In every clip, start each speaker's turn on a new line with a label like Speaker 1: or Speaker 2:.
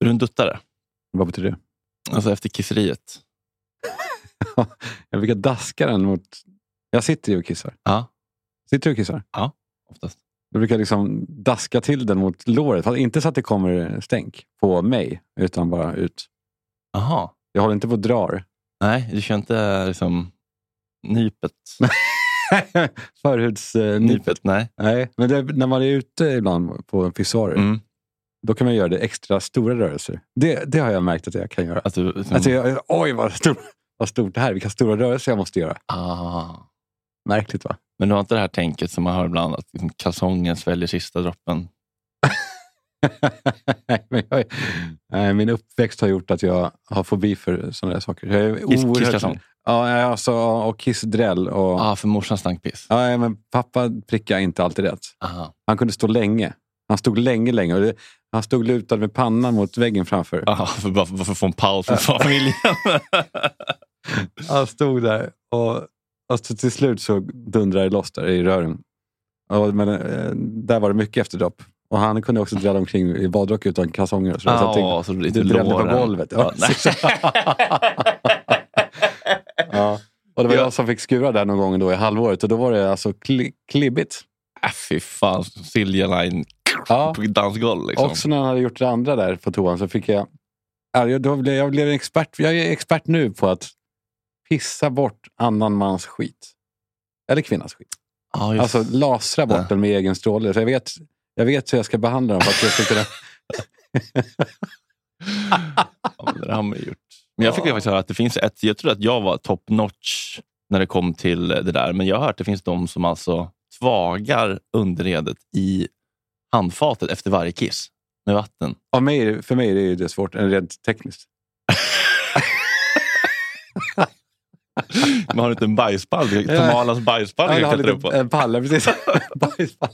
Speaker 1: Är du en duttare?
Speaker 2: Vad betyder det?
Speaker 1: Alltså efter kisseriet?
Speaker 2: Jag brukar daska den mot... Jag sitter ju och kissar.
Speaker 1: Ja.
Speaker 2: Sitter du och kissar?
Speaker 1: Oftast.
Speaker 2: Jag brukar liksom daska till den mot låret. Fast inte så att det kommer stänk på mig, utan bara ut.
Speaker 1: Aha.
Speaker 2: Jag håller inte på och drar.
Speaker 1: Nej, du kör inte liksom nypet?
Speaker 2: Förhudsnypet.
Speaker 1: nypet, nej.
Speaker 2: Nej, men det, när man är ute ibland på pissoarer,
Speaker 1: Mm.
Speaker 2: då kan man göra det extra stora rörelser. Det, det har jag märkt att jag kan göra.
Speaker 1: Att du, som,
Speaker 2: Alltså, jag, oj, vad, stor, vad stort det här Vilka stora rörelser jag måste göra.
Speaker 1: ah.
Speaker 2: Märkligt va?
Speaker 1: Men du har inte det här tänket som man hör ibland, att liksom kalsongen sväljer sista droppen?
Speaker 2: Nej, men jag, nej, min uppväxt har gjort att jag har fobi för sådana där saker. Jag är
Speaker 1: Kiss-
Speaker 2: oerhört-
Speaker 1: kisskalsong?
Speaker 2: Ja, alltså, och kissdräll. Och,
Speaker 1: Ja, ah, för morsan stank piss.
Speaker 2: Ja, nej, men pappa prickade inte alltid rätt.
Speaker 1: Ah.
Speaker 2: Han kunde stå länge. Han stod länge, länge. Och det, han stod lutad med pannan mot väggen framför.
Speaker 1: Ah, för, bara, bara för att få en paus från familjen.
Speaker 2: Han stod där och alltså, till slut så dundrade det loss där i rören. Och, men, eh, där var det mycket efterdopp. Och han kunde också drälla omkring i badrock utan kalsonger. och Så, så att det,
Speaker 1: ah, så lite
Speaker 2: det drällde på
Speaker 1: låren.
Speaker 2: golvet.
Speaker 1: Ja,
Speaker 2: Ja,
Speaker 1: nej.
Speaker 2: ja. Och det var
Speaker 1: Ja.
Speaker 2: jag som fick skura där någon gång då i halvåret och då var det alltså kli, klibbigt.
Speaker 1: Äh, fy fan, Silja Line
Speaker 2: Ja.
Speaker 1: på dansgolv. Liksom.
Speaker 2: Också när han hade gjort det andra där på toan så fick jag... Ja, jag- Då blev, jag blev en expert. Jag är expert nu på att pissa bort annan mans skit. Eller kvinnas skit.
Speaker 1: Ah, just.
Speaker 2: Alltså lasra bort
Speaker 1: Ja.
Speaker 2: den med egen stråle. Så jag, vet, jag vet hur jag ska behandla dem. För att jag ska kunna...
Speaker 1: Ja, men det har man ju gjort. Men jag fick ju faktiskt höra att det finns ett... Jag trodde att jag var top notch när det kom till det där. Men jag har hört att det finns de som alltså tvagar underredet i handfatet efter varje kiss med vatten.
Speaker 2: Av mig, är det- för mig är det ju det svårt, eller rent tekniskt.
Speaker 1: Man har inte en bajspall. Det är Tomalas bajspall
Speaker 2: Ja,
Speaker 1: jag
Speaker 2: jag
Speaker 1: kan
Speaker 2: har
Speaker 1: klättra upp på.
Speaker 2: lite eh, en palla, precis. Bajspall.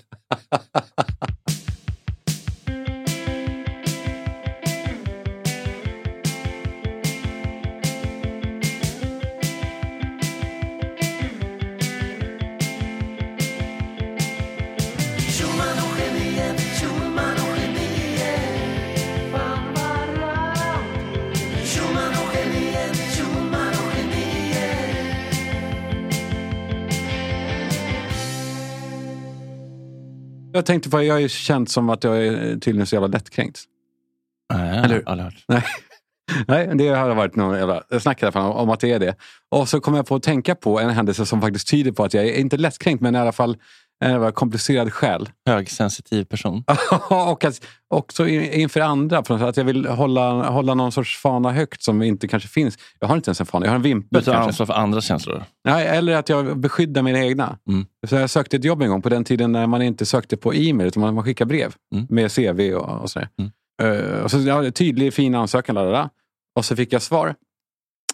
Speaker 2: jag tänkte på, jag har ju känt som att jag är tydligen så jävla lättkränkt.
Speaker 1: Nej,
Speaker 2: Eller hur?
Speaker 1: aldrig hört.
Speaker 2: Nej, Nej men det har varit någon jävla snack i alla fall om att det är det. Och så kom jag på att tänka på en händelse som faktiskt tyder på att jag är inte lättkränkt, men i alla fall en jävla komplicerad själ.
Speaker 1: Högsensitiv person.
Speaker 2: Ah, och att, också in- inför andra, på något sätt, att jag vill hålla, hålla någon sorts fana högt som inte kanske finns. Jag har inte ens en fana, jag har en
Speaker 1: Du
Speaker 2: vimpel
Speaker 1: tar
Speaker 2: kanske.
Speaker 1: ansvar för andra känslor.
Speaker 2: Nej, eller att jag beskyddar mina egna.
Speaker 1: Mm.
Speaker 2: Så jag sökte ett jobb en gång på den tiden när man inte sökte på e-mail utan man, man skickade brev
Speaker 1: Mm.
Speaker 2: med CV och, och sådär.
Speaker 1: Mm.
Speaker 2: Eh, och så jag hade tydlig, fin ansökan. Lalala. Och så fick jag svar,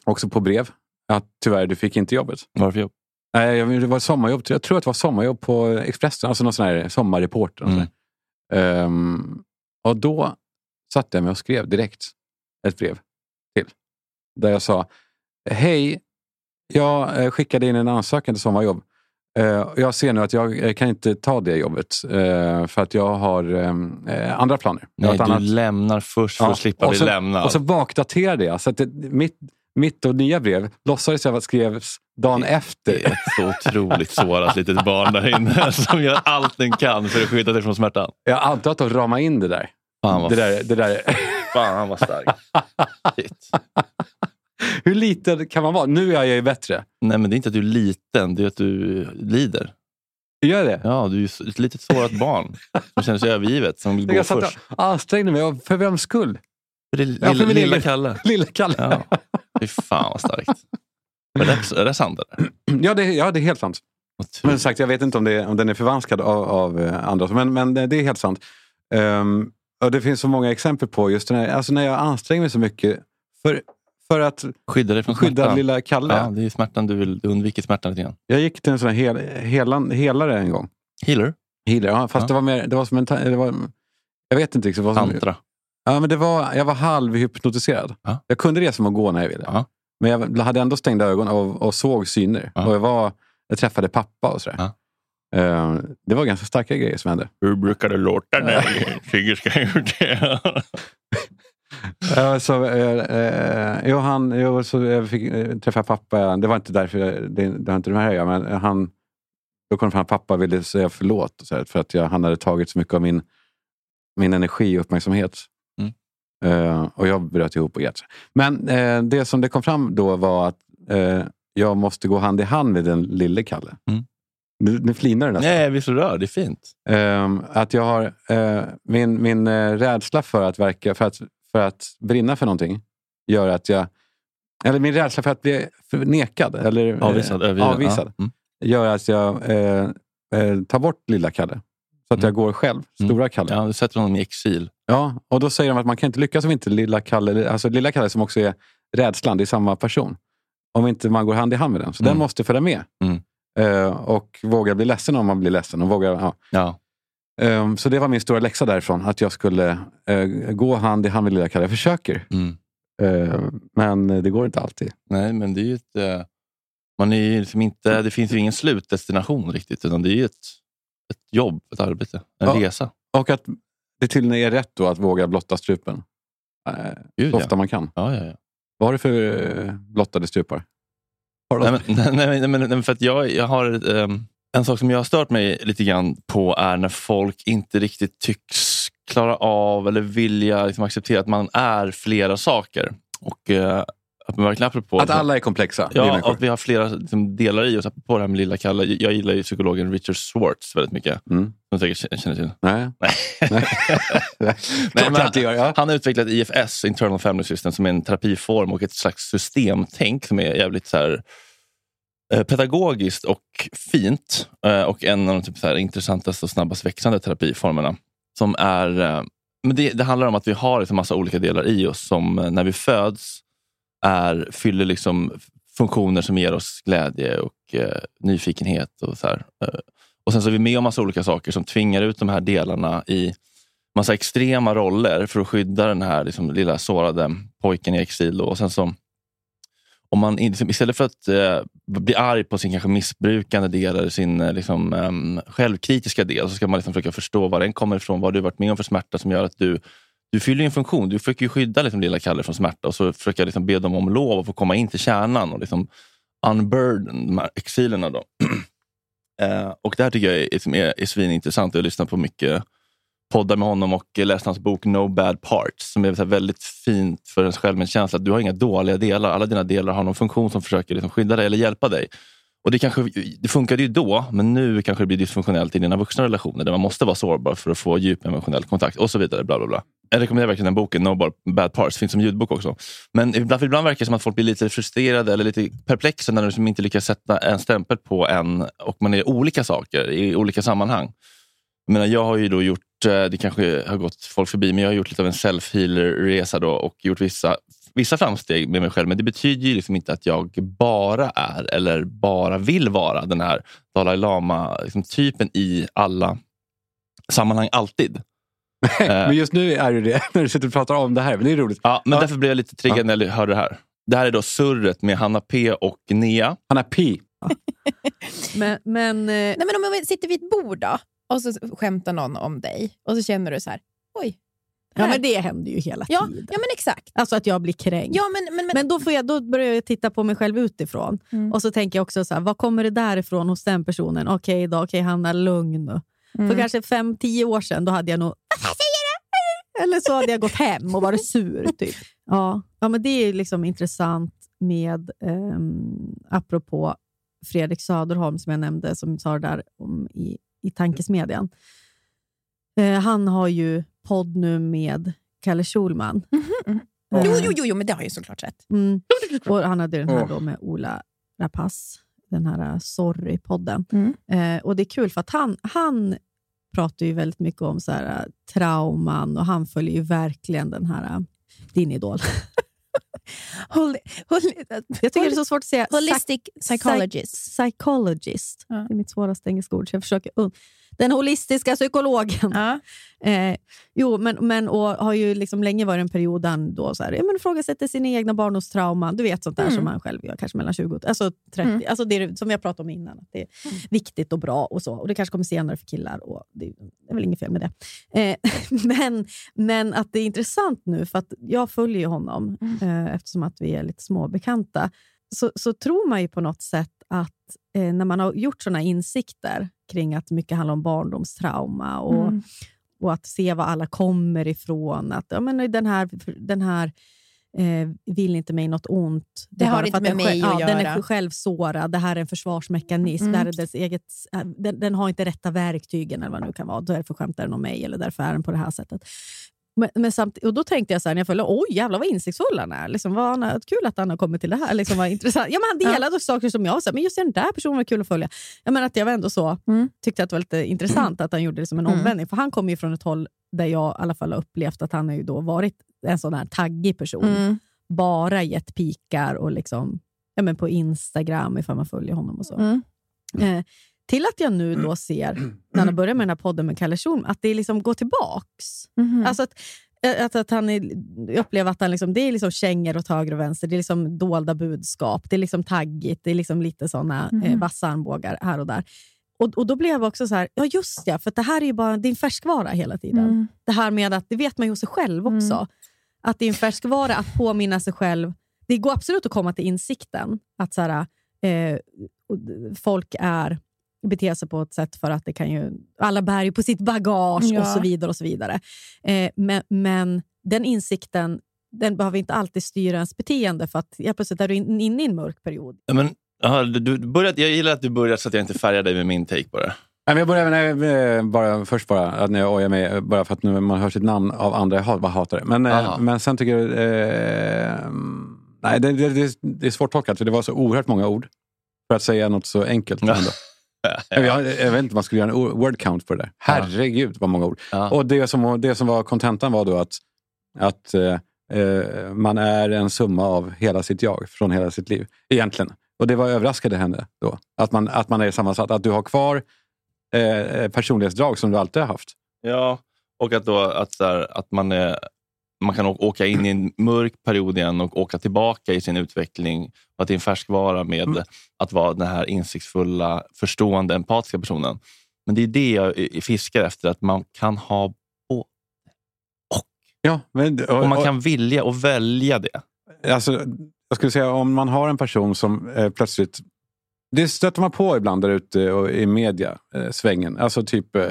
Speaker 2: också på brev, att tyvärr, du fick inte jobbet.
Speaker 1: Varför jobb?
Speaker 2: Nej, jag- det var ett sommarjobb. Jag tror att det var sommarjobb på Expressen, alltså någon sån här sommarreporter. och
Speaker 1: Mm.
Speaker 2: sådär. Ehm, och då satt jag mig och skrev direkt ett brev till. Där jag sa, hej, jag eh, skickade in en ansökan till sommarjobb. Eh, och Jag ser nu att jag eh, kan inte ta det jobbet eh, för att jag har ehm, eh, andra planer. Jag har
Speaker 1: Nej,
Speaker 2: ett
Speaker 1: du
Speaker 2: annat-
Speaker 1: lämnar först för
Speaker 2: Ja,
Speaker 1: att slippa
Speaker 2: och
Speaker 1: bli
Speaker 2: så-
Speaker 1: lämnad.
Speaker 2: och så bakdaterade jag. Så att det, mitt, mitt och nya brev låtsades jag att skrevs dagen efter.
Speaker 1: Det är ett så otroligt sårat litet barn där inne som gör allt den kan för att skydda dig från smärtan.
Speaker 2: Jag antar att de ramar in det där.
Speaker 1: Fan vad,
Speaker 2: Det där, det där.
Speaker 1: Fan vad stark. Shit.
Speaker 2: Hur liten kan man vara? Nu är jag ju bättre.
Speaker 1: Nej, men det är inte att du är liten, det är att du lider.
Speaker 2: Gör jag det?
Speaker 1: Ja, du är ju s- ett litet sårat barn som känner sig övergivet, som vill gå
Speaker 2: Jag satt
Speaker 1: först.
Speaker 2: och ansträngde mig. Och För vems skull?
Speaker 1: För det
Speaker 2: Ja,
Speaker 1: lilla,
Speaker 2: för min
Speaker 1: lilla
Speaker 2: egen-
Speaker 1: Kalle.
Speaker 2: Lilla Kalle.
Speaker 1: Ja. Fy fan vad starkt. Är det, är det sant? Eller?
Speaker 2: Ja, det, ja, det är helt sant.
Speaker 1: Vad tur.
Speaker 2: Men som sagt, jag vet inte om, det, om den är förvanskad av, av eh, andra. Men, men det det är helt sant. Ehm, och det finns så många exempel på just den här, alltså när jag anstränger mig så mycket för, för att
Speaker 1: Skydda dig från
Speaker 2: skydda
Speaker 1: smärtan.
Speaker 2: lilla Kalle.
Speaker 1: Ja, det är smärtan du vill, du undviker smärtan lite grann.
Speaker 2: Jag gick till en sån här hel, helan, helare en gång.
Speaker 1: Healer?
Speaker 2: Healer, ja, fast
Speaker 1: Ja.
Speaker 2: det var mer, det var som en, ta- det var, jag vet inte riktigt vad som,
Speaker 1: Tantra?
Speaker 2: Ja, men det var, jag var halvhypnotiserad.
Speaker 1: Ja.
Speaker 2: Jag kunde resa mig och gå när jag ville.
Speaker 1: Ja.
Speaker 2: Men jag hade ändå stängda ögon och, och såg syner.
Speaker 1: Ja.
Speaker 2: Och jag, var, jag träffade pappa och sådär.
Speaker 1: Ja.
Speaker 2: Eh, det var ganska starka grejer som hände.
Speaker 1: Hur brukar det låta när Sigge ska göra det?
Speaker 2: Eh, så, eh, eh, jo, han, jo, så jag fick eh, träffa pappa. Det var inte därför, jag, det, det har inte det här att göra, men han, då kom det fram att pappa ville säga förlåt. Och så här, för att jag, han hade tagit så mycket av min, min energi och uppmärksamhet.
Speaker 1: Mm.
Speaker 2: Eh, och jag bröt ihop och grät. Men eh, det som det kom fram då var att eh, jag måste gå hand i hand med den lille Kalle.
Speaker 1: Mm.
Speaker 2: Nu, nu flinar du nästan.
Speaker 1: Nej, vi är så rörd. Det är fint.
Speaker 2: Ehm, att jag har eh, min, min eh, rädsla för att verka, för att, för att brinna för någonting gör att jag, eller min rädsla för att bli för- nekad eller eh,
Speaker 1: Avvisad, övergiven.
Speaker 2: avvisad
Speaker 1: Ja. Mm.
Speaker 2: gör att jag eh, eh, tar bort lilla Kalle. Så att
Speaker 1: Mm.
Speaker 2: jag går själv, stora Kalle. Ja.
Speaker 1: Ja, du sätter honom i exil.
Speaker 2: och då säger de att man kan inte lyckas om inte lilla Kalle, alltså lilla Kalle som också är rädslan, det är samma person. Om inte man går hand i hand med den. Så den
Speaker 1: Mm.
Speaker 2: måste följa med.
Speaker 1: Mm.
Speaker 2: Eh, och våga bli ledsen om man blir ledsen. Och våga, ja.
Speaker 1: Ja.
Speaker 2: Ehm, så det var min stora läxa därifrån, att jag skulle eh, gå hand i hand med lilla Kalle. Jag försöker,
Speaker 1: Mm.
Speaker 2: Ehm, men det går inte alltid.
Speaker 1: Nej, men det är ju ett... eh, Man är ju liksom
Speaker 2: Mm.
Speaker 1: inte, det finns ju ingen slutdestination riktigt, utan det är ju ett, ett jobb, ett arbete, en
Speaker 2: Ja.
Speaker 1: resa.
Speaker 2: Och att det tydligen är rätt då att våga blotta strupen. Eh,
Speaker 1: Gud,
Speaker 2: så
Speaker 1: ja.
Speaker 2: ofta man kan.
Speaker 1: Ja, ja, ja.
Speaker 2: Vad har du för eh, blottade strupar? Har du
Speaker 1: Nej,
Speaker 2: något?
Speaker 1: men, nej, nej, nej, men- nej, men för att jag, jag har ehm, en sak som jag har stört mig lite grann på är när folk inte riktigt tycks klara av eller vilja liksom, acceptera att man är flera saker. Och eh, att man verkligen apropå...
Speaker 2: att alla är komplexa. vi
Speaker 1: Ja,
Speaker 2: människor.
Speaker 1: och att vi har flera liksom, delar i oss. Apropå det här med lilla Kalle. Jag gillar ju psykologen Richard Schwartz väldigt mycket.
Speaker 2: Mm.
Speaker 1: Som säkert k- känner till.
Speaker 2: Nej.
Speaker 1: Nej.
Speaker 2: Nej.
Speaker 1: Nej, men-
Speaker 2: Klart jag gör, ja.
Speaker 1: Han har utvecklat IFS, Internal Family System, som är en terapiform och ett slags systemtänk som är jävligt så här, eh, pedagogiskt och fint. Eh, Och en av de typ så här, intressantaste och snabbast växande terapiformerna. Som är, eh, men det, det handlar om att vi har liksom massa olika delar i oss som eh, när vi föds är, fyller liksom funktioner som ger oss glädje och eh, nyfikenhet. och så här. Eh, Och Sen så är vi med om massa olika saker som tvingar ut de här delarna i massa extrema roller för att skydda den här liksom, lilla sårade pojken i exil. Då. Och sen så, om man in- liksom, istället för att eh, bli arg på sin kanske missbrukande del eller sin eh, liksom, ehm, självkritiska del, så ska man liksom försöka förstå var den kommer ifrån, vad du varit med om för smärta som gör att du du fyller ju en funktion. Du försöker ju skydda liksom, lilla Kalle från smärta och så försöker jag liksom, be dem om lov och få komma in till kärnan och liksom, unburden de här exilerna. Då. eh, och det här tycker jag är, liksom, är, är svinintressant. Jag lyssnar på mycket poddar med honom och läste hans bok No Bad Parts som är så här väldigt fint för ens självmedkänsla. att Du har inga dåliga delar. Alla dina delar har någon funktion som försöker liksom skydda dig eller hjälpa dig. Och Det, kanske, det funkade ju då, men nu kanske det blir dysfunktionellt i dina vuxna relationer där man måste vara sårbar för att få djup emotionell kontakt och så vidare. Bla, bla, bla. Jag rekommenderar verkligen den boken, No Bar- Bad Parts. finns som ljudbok också. Men ibland, för ibland verkar det som att folk blir lite frustrerade eller lite perplexa när de liksom inte lyckas sätta en stämpel på en och man är olika saker i olika sammanhang. Jag, menar, jag har ju då gjort, eh, det kanske har gått folk förbi, men jag har gjort lite av en self-healer-resa då och gjort vissa, vissa framsteg med mig själv. Men det betyder ju liksom inte att jag bara är eller bara vill vara den här Dalai Lama-typen i alla sammanhang alltid.
Speaker 2: Men just nu är du det, när du sitter och pratar om det här. Men det är roligt.
Speaker 1: Ja, men
Speaker 2: Ja.
Speaker 1: därför blev jag lite triggad
Speaker 2: Ja.
Speaker 1: när jag hörde det här. Det här är då surret med Hanna P och Nea.
Speaker 2: Han är pi.
Speaker 3: Men, men, eh,
Speaker 4: Nej, men om vi sitter vid ett bord då, och så skämtar någon om dig och så känner du så här, oj,
Speaker 3: Ja, men det händer ju hela
Speaker 4: Ja, ja
Speaker 3: tiden.
Speaker 4: men exakt.
Speaker 3: Alltså att jag blir kränkt.
Speaker 4: Ja, men, men, men,
Speaker 3: Men då, får jag, då börjar jag titta på mig själv utifrån.
Speaker 4: Mm.
Speaker 3: Och så tänker jag också, så här, vad kommer det därifrån hos den personen? Okej då, okej Hanna, lugn nu.
Speaker 4: Mm.
Speaker 3: För kanske fem, tio år sedan, då hade jag nog... Varför säger du? Eller så hade jag gått hem och varit sur. Typ. Ja. ja, men det är liksom intressant med, um, apropå Fredrik Söderholm som jag nämnde, som sa det där om i, i tankesmedjan. Eh, han har ju podd nu med Kalle Schulman.
Speaker 4: jo,
Speaker 3: Eh,
Speaker 4: jo, jo, jo, men det har jag ju såklart rätt.
Speaker 3: Mm. Och han hade den här
Speaker 2: Åh.
Speaker 3: då med Ola Rapace, den här eh, Sorry-podden.
Speaker 4: Mm.
Speaker 3: Eh, och Det är kul för att han, han pratar ju väldigt mycket om så här, eh, trauman och han följer ju verkligen den här eh, din idol.
Speaker 4: Hol, hol,
Speaker 3: Jag tycker det är så svårt att säga.
Speaker 4: holistic
Speaker 3: Psych-
Speaker 4: psychologist.
Speaker 3: psy- psychologist.
Speaker 4: Ja.
Speaker 3: Det är mitt svåraste engelska ord, så jag försöker. un- Den holistiska psykologen.
Speaker 4: Ja.
Speaker 3: Eh, jo, men, men och har ju liksom länge varit en period där han då så här, ja, men ifrågasätter sina egna barndomstrauman. Du vet sånt där
Speaker 4: Mm.
Speaker 3: som man själv gör, kanske mellan 20 och alltså 30.
Speaker 4: Mm.
Speaker 3: Alltså det är, som vi har pratat om innan, att det är viktigt och bra och så. Och det kanske kommer senare för killar och det är väl inget fel med det. Eh, men, men att det är intressant nu, för att jag följer ju honom
Speaker 4: Mm.
Speaker 3: eh, eftersom att vi är lite småbekanta. Så, så tror man ju på något sätt att eh, när man har gjort såna insikter kring att mycket handlar om barndomstrauma och
Speaker 4: Mm.
Speaker 3: och att se var alla kommer ifrån. Att ja, men den här, den här eh, vill inte mig något ont.
Speaker 4: Det
Speaker 3: är
Speaker 4: har
Speaker 3: bara
Speaker 4: inte
Speaker 3: för att
Speaker 4: med
Speaker 3: den
Speaker 4: mig
Speaker 3: själv-
Speaker 4: att
Speaker 3: ja, Den är
Speaker 4: göra.
Speaker 3: självsårad, det här är en försvarsmekanism.
Speaker 4: Mm.
Speaker 3: Det här är dess eget, den, den har inte rätta verktygen eller vad det nu kan vara. Därför skämtar den om mig eller därför är den på det här sättet. Men, men samt, och då tänkte jag så här när jag följde, oj jävlar vad insiktsfull han är. Liksom, vad han, har- kul att han har kommit till det här. Liksom, vad intressant. Ja, men han delade också saker som jag var så här, men just den där personen var kul att följa. Jag menar att jag var ändå så,
Speaker 4: Mm.
Speaker 3: tyckte att det var lite intressant att han gjorde det som en
Speaker 4: Mm.
Speaker 3: omvändning. För han kommer ju från ett håll där jag i alla fall har upplevt att han har ju då varit en sån här taggig person.
Speaker 4: Mm.
Speaker 3: Bara gett pikar och liksom, ja, men på Instagram ifall man följer honom och så.
Speaker 4: Mm.
Speaker 3: Eh, till att jag nu då ser, när han börjar med den här podden med Kalle Schulman, att det liksom går tillbaks.
Speaker 4: Mhm.
Speaker 3: Alltså att, att, att han är, jag upplever att han liksom, det är liksom kängor åt höger och vänster. Det är liksom dolda budskap. Det är liksom taggigt. Det är liksom lite såna
Speaker 4: Mhm.
Speaker 3: eh, vassa armbågar här och där. Och, och Då blev jag också så här, ja just ja, för det här är ju bara din färskvara hela tiden.
Speaker 4: Mm.
Speaker 3: Det här med att, det vet man ju hos sig själv också.
Speaker 4: Mm.
Speaker 3: Att det är en färskvara att påminna sig själv. Det går absolut att komma till insikten att så här, eh, och d- folk är beter sig på ett sätt för att det kan ju, alla bär ju på sitt bagage
Speaker 4: Ja.
Speaker 3: och så vidare. och så vidare. Eh, men, men den insikten den behöver inte alltid styra ens beteende för att helt plötsligt är du in- inne i en mörk period.
Speaker 1: Ja, Men, ja, du, du började, jag gillar att du började så att jag inte färgar dig med min take på det.
Speaker 2: Nej, men jag börjar även eh, bara, först bara, att när jag ojar mig, eh, bara för att nu man hör sitt namn av andra, jag hat- bara hatar det. Men, eh,
Speaker 1: Aha.
Speaker 2: men sen tycker jag... Eh, nej, det, det, det, det är svårtolkat, för det var så oerhört många ord. För att säga något så enkelt.
Speaker 1: Ja.
Speaker 2: Ändå. Jag, jag vet inte, man skulle göra en o- word count på det där. Herregud vad många ord.
Speaker 1: Ja.
Speaker 2: Och det som, var- det som var kontentan var då att, att eh, eh, man är en summa av hela sitt jag, från hela sitt liv. Egentligen. Och det var överraskade henne då. Att man, att man är sammansatt. Att du har kvar eh, personlighetsdrag som du alltid har haft.
Speaker 1: Ja, och att, då, att, så här, att man, är, man kan å- åka in i en mörk period igen och åka tillbaka i sin utveckling. Och att det är en färskvara med att vara den här insiktsfulla, förstående, empatiska personen. Men det är det jag i- i- fiskar efter, att man kan ha
Speaker 2: Ja, men, och,
Speaker 1: och man kan vilja och välja det.
Speaker 2: alltså, jag skulle säga om man har en person som eh, plötsligt... Det stöter man på ibland där ute och i media, eh, svängen. Alltså typ eh,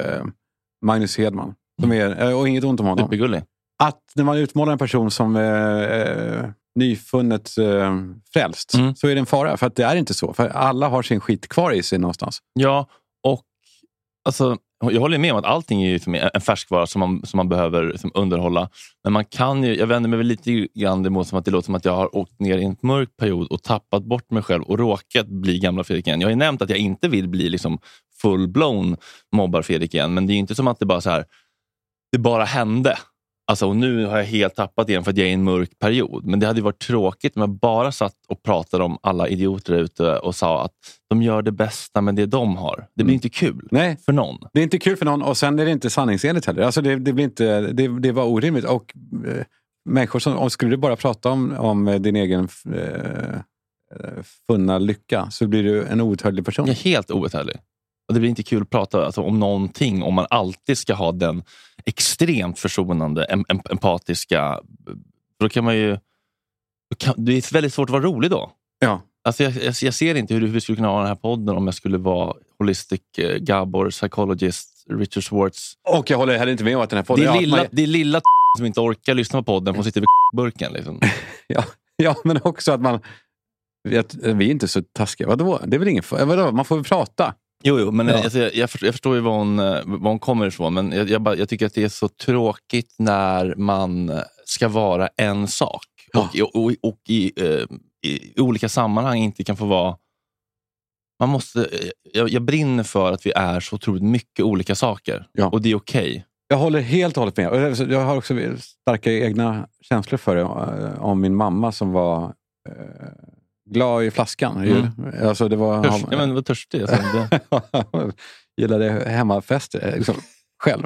Speaker 2: Magnus Hedman. Som är, eh, och inget ont om honom.
Speaker 1: Supergullig.
Speaker 2: att när man utmålar en person som eh, eh, nyfunnet eh, frälst
Speaker 1: Mm.
Speaker 2: så är det en fara. För att det är inte så. För alla har sin skit kvar i sig någonstans.
Speaker 1: Ja, och alltså, jag håller med om att allting är ju för mig en färskvara som man, som man behöver liksom, underhålla. Men man kan ju, jag vänder mig väl lite grann emot som att det låter som att jag har åkt ner i en mörk period och tappat bort mig själv och råkat bli gamla Fredrik igen. Jag har ju nämnt att jag inte vill bli liksom full-blown mobbar-Fredrik igen, men det är ju inte som att det bara så här, det bara hände. Alltså, och nu har jag helt tappat igen för att jag är i en mörk period. Men det hade ju varit tråkigt om jag bara satt och pratade om alla idioter där ute och sa att de gör det bästa med det de har. Det blir
Speaker 2: Mm.
Speaker 1: inte kul
Speaker 2: Nej,
Speaker 1: för någon.
Speaker 2: det är inte kul för någon och sen är det inte sanningsenligt heller. Alltså det, det, blir inte, det, det var orimligt. Och eh, människor som, om skulle du bara prata om, om eh, din egen eh, eh, funna lycka så blir du en outhärdlig person.
Speaker 1: Jag är helt outhärdlig. Och det blir inte kul att prata alltså, om någonting om man alltid ska ha den extremt försonande, em, em, empatiska... för Då kan man ju... då Kan, det är väldigt svårt att vara rolig då.
Speaker 2: Ja.
Speaker 1: Alltså jag, jag, jag ser inte hur vi skulle kunna ha den här podden om jag skulle vara holistic eh, Gabor, psychologist, Richard Schwartz.
Speaker 2: Och jag håller heller inte med om att den här podden...
Speaker 1: Det är
Speaker 2: ja, att
Speaker 1: lilla,
Speaker 2: man-
Speaker 1: det är lilla som inte orkar lyssna på podden, hon sitter vid burken. Liksom.
Speaker 2: Ja, men också att man... Vet, vi är inte så taskiga. Vadå? Det är väl ingen fa- vadå? Man får väl prata.
Speaker 1: Jo, jo men
Speaker 2: Ja.
Speaker 1: alltså, jag, jag, förstår, jag förstår ju var hon, eh, var hon kommer ifrån, men jag, jag, bara, jag tycker att det är så tråkigt när man eh, ska vara en sak
Speaker 2: Ja.
Speaker 1: och, i- och, i- och i, eh, i, i olika sammanhang inte kan få vara... Man måste, eh, jag, jag brinner för att vi är så otroligt mycket olika saker
Speaker 2: Ja.
Speaker 1: och det är okej.
Speaker 2: Jag håller helt och hållet med. Och jag- Jag har också starka egna känslor för det. eh, Om min mamma som var eh, glad i flaskan. ju. Alltså det var...
Speaker 1: Törst, Mm. ja, men vad törstig. Alltså, det,
Speaker 2: gillade hemmafester eh, liksom, själv.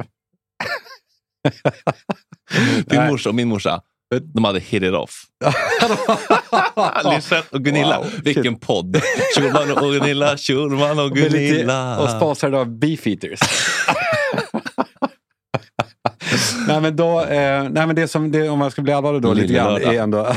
Speaker 1: din
Speaker 2: Nej.
Speaker 1: morsa och min morsa, de hade hit it off. Lisette och Gunilla.
Speaker 2: Wow.
Speaker 1: Vilken podd! Schulman och Gunilla, Schulman och
Speaker 2: Med lite-
Speaker 1: Gunilla.
Speaker 2: och sponsrade av Beefeaters. nej, men då, eh, nej, men det som, det, om man ska bli allvarlig då lite grann,
Speaker 1: Lillelördag.
Speaker 2: är ändå...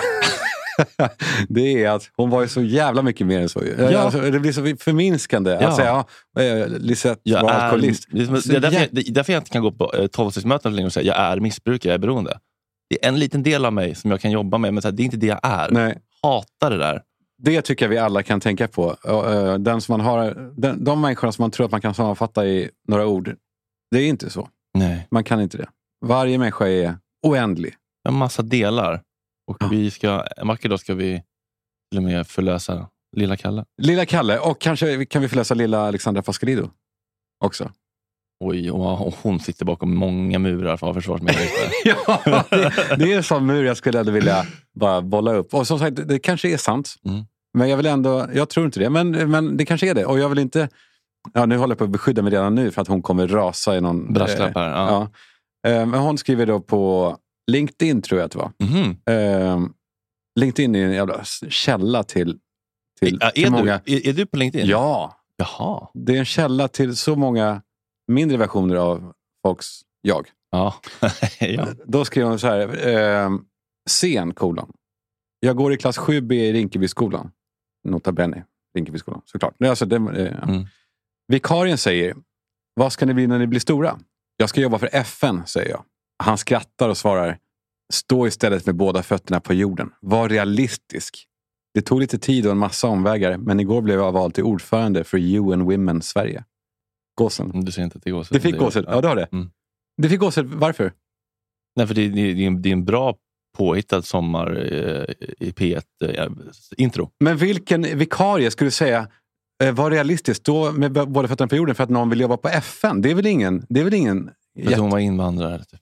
Speaker 2: det är att hon var ju så jävla mycket mer än så. ju.
Speaker 1: Ja.
Speaker 2: Alltså, det blir så förminskande
Speaker 1: Ja.
Speaker 2: att säga ja, eh, Lisette
Speaker 1: Jag
Speaker 2: var
Speaker 1: är,
Speaker 2: alkoholist.
Speaker 1: det, är-
Speaker 2: Så
Speaker 1: det, är därför,
Speaker 2: jä-
Speaker 1: jag, det är därför jag inte kan gå på eh, tolvstegsmöten längre och säga jag är missbrukare, jag är beroende. Det är en liten del av mig som jag kan jobba med, men så här, det är inte det jag är.
Speaker 2: Nej.
Speaker 1: Hatar det där.
Speaker 2: Det tycker jag vi alla kan tänka på. Och, eh, Den som man har, den, de människorna som man tror att man kan sammanfatta i några ord, det är inte så.
Speaker 1: Nej.
Speaker 2: Man kan inte det. Varje människa är oändlig.
Speaker 1: Jag har en massa delar. Och
Speaker 2: Ja.
Speaker 1: vi ska, en vacker dag ska vi till och med förlösa lilla Kalle.
Speaker 2: Lilla Kalle, och kanske vi- kan vi förlösa lilla Alexandra Pascalido också.
Speaker 1: Oj, och och hon sitter bakom många murar för försvarsmedarbetare.
Speaker 2: Ja, det, det är en sån mur jag skulle ändå vilja bara bolla upp. Och som sagt, det- det kanske är sant.
Speaker 1: Mm.
Speaker 2: Men jag vill ändå, jag tror inte det, men, men det kanske är det. Och jag vill inte, ja, nu håller jag på att beskydda mig redan nu för att hon kommer rasa i någon... eh,
Speaker 1: Brasklappar. Ja.
Speaker 2: Ja. Eh, Men hon skriver då på LinkedIn, tror jag att det var.
Speaker 1: Mhm.
Speaker 2: Eh, LinkedIn är en jävla s- källa till, till,
Speaker 1: Ja,
Speaker 2: till
Speaker 1: är,
Speaker 2: många...
Speaker 1: du, är, är du på LinkedIn?
Speaker 2: Ja,
Speaker 1: Jaha.
Speaker 2: det är en källa till så många mindre versioner av folks jag.
Speaker 1: Ja. ja.
Speaker 2: Då skriver hon så här. Eh, sen, kolon. Jag går i klass 7B i Rinkebyskolan. Nota bene, Rinkebyskolan såklart. Nej, Alltså, det, eh,
Speaker 1: Mm.
Speaker 2: Vikarien säger, vad ska ni bli när ni blir stora? Jag ska jobba för FN, säger jag. Han skrattar och svarar, stå istället med båda fötterna på jorden. Var realistisk. Det tog lite tid och en massa omvägar, men igår blev jag vald till ordförande för UN Women Sverige. Gåsen.
Speaker 1: Du ser inte att Mm. det går så.
Speaker 2: Det fick gåshud. Ja, du har det.
Speaker 1: Mm.
Speaker 2: Det fick gåshud. Varför?
Speaker 1: Nej, för det, det, det, är en, det är en bra påhittad sommar eh, i P1-intro.
Speaker 2: Men vilken vikarie skulle säga eh, var realistiskt, stå med b- båda fötterna på jorden för att någon vill jobba på FN? Det är väl ingen... Det, är väl ingen
Speaker 1: För att
Speaker 2: jätte-
Speaker 1: hon var invandrare. Typ.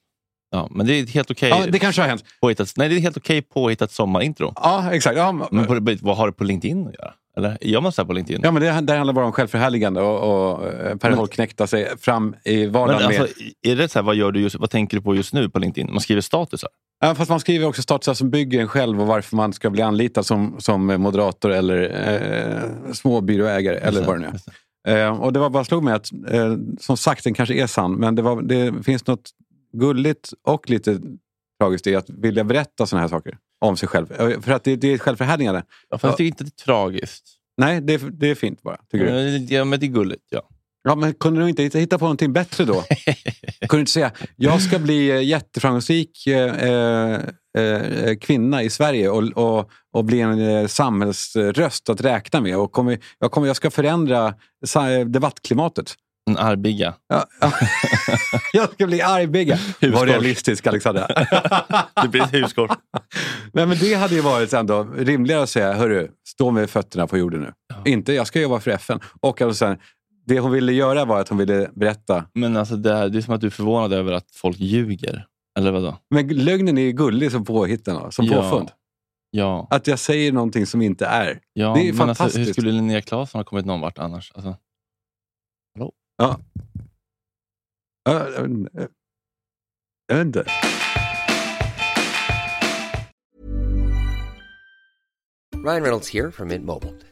Speaker 1: Ja, men det är ett helt okej
Speaker 2: ja, det kanske har hänt.
Speaker 1: påhittat, nej, det är ett helt okej påhittat sommarintro.
Speaker 2: Ja, exakt. Ja, men-
Speaker 1: Men på, vad har det på LinkedIn att göra? Eller gör man så här på LinkedIn?
Speaker 2: ja, men det, det handlar bara om självförhärligande och, och eh, Per
Speaker 1: Men-
Speaker 2: Holknekt tar sig fram i vardagen.
Speaker 1: men alltså,
Speaker 2: med,
Speaker 1: är det så här, vad, gör du just, vad tänker du på just nu på LinkedIn? Man skriver statusar.
Speaker 2: ja, fast man skriver också statusar som bygger en själv och varför man ska bli anlitad som, som moderator eller eh, småbyråägare eller vad det nu är.
Speaker 1: Just det.
Speaker 2: Eh, och det var bara slog mig att, eh, som sagt, den kanske är sann, men det, var, det finns något gulligt och lite tragiskt i att vilja berätta sådana här saker om sig själv. Eh, För att det, det är ett självförhärligande.
Speaker 1: Ja, fast det är inte tragiskt.
Speaker 2: Nej, det, är- det är fint bara, tycker
Speaker 1: Eh.
Speaker 2: du.
Speaker 1: Ja, men det är gulligt. Ja.
Speaker 2: Ja, men kunde du inte hitta- hitta på någonting bättre då? kunde du inte säga, jag ska bli eh, jätteframgångsrik eh, eh, eh, kvinna i Sverige och, och, och bli en eh, samhällsröst att räkna med. Och kommer, jag, kommer, jag ska förändra sa- debattklimatet.
Speaker 1: En arbiga.
Speaker 2: Ja, ja. jag ska bli argbigga. Var
Speaker 1: Huskors.
Speaker 2: realistisk, Alexandra.
Speaker 1: Det blir ett huskors.
Speaker 2: Nej, men det hade ju varit ändå rimligare att säga, hörru, stå med fötterna på jorden nu. Inte, jag ska jobba för FN. Och alltså sen, det hon ville göra var att hon ville berätta.
Speaker 1: Men alltså, det, här, det är som att du är förvånad över att folk ljuger. Eller vadå?
Speaker 2: Men lögnen är ju gullig som påhitten, då, som påfund.
Speaker 1: Ja.
Speaker 2: Att jag säger någonting som inte är.
Speaker 1: ja.
Speaker 2: Det är
Speaker 1: men Alltså, hur
Speaker 2: fantastiskt.
Speaker 1: skulle Linnea Claesson ha kommit någon vart annars? Alltså,
Speaker 2: Ö, ö, ö. Jag vet inte.
Speaker 5: Ryan Reynolds here from Mint Mobile.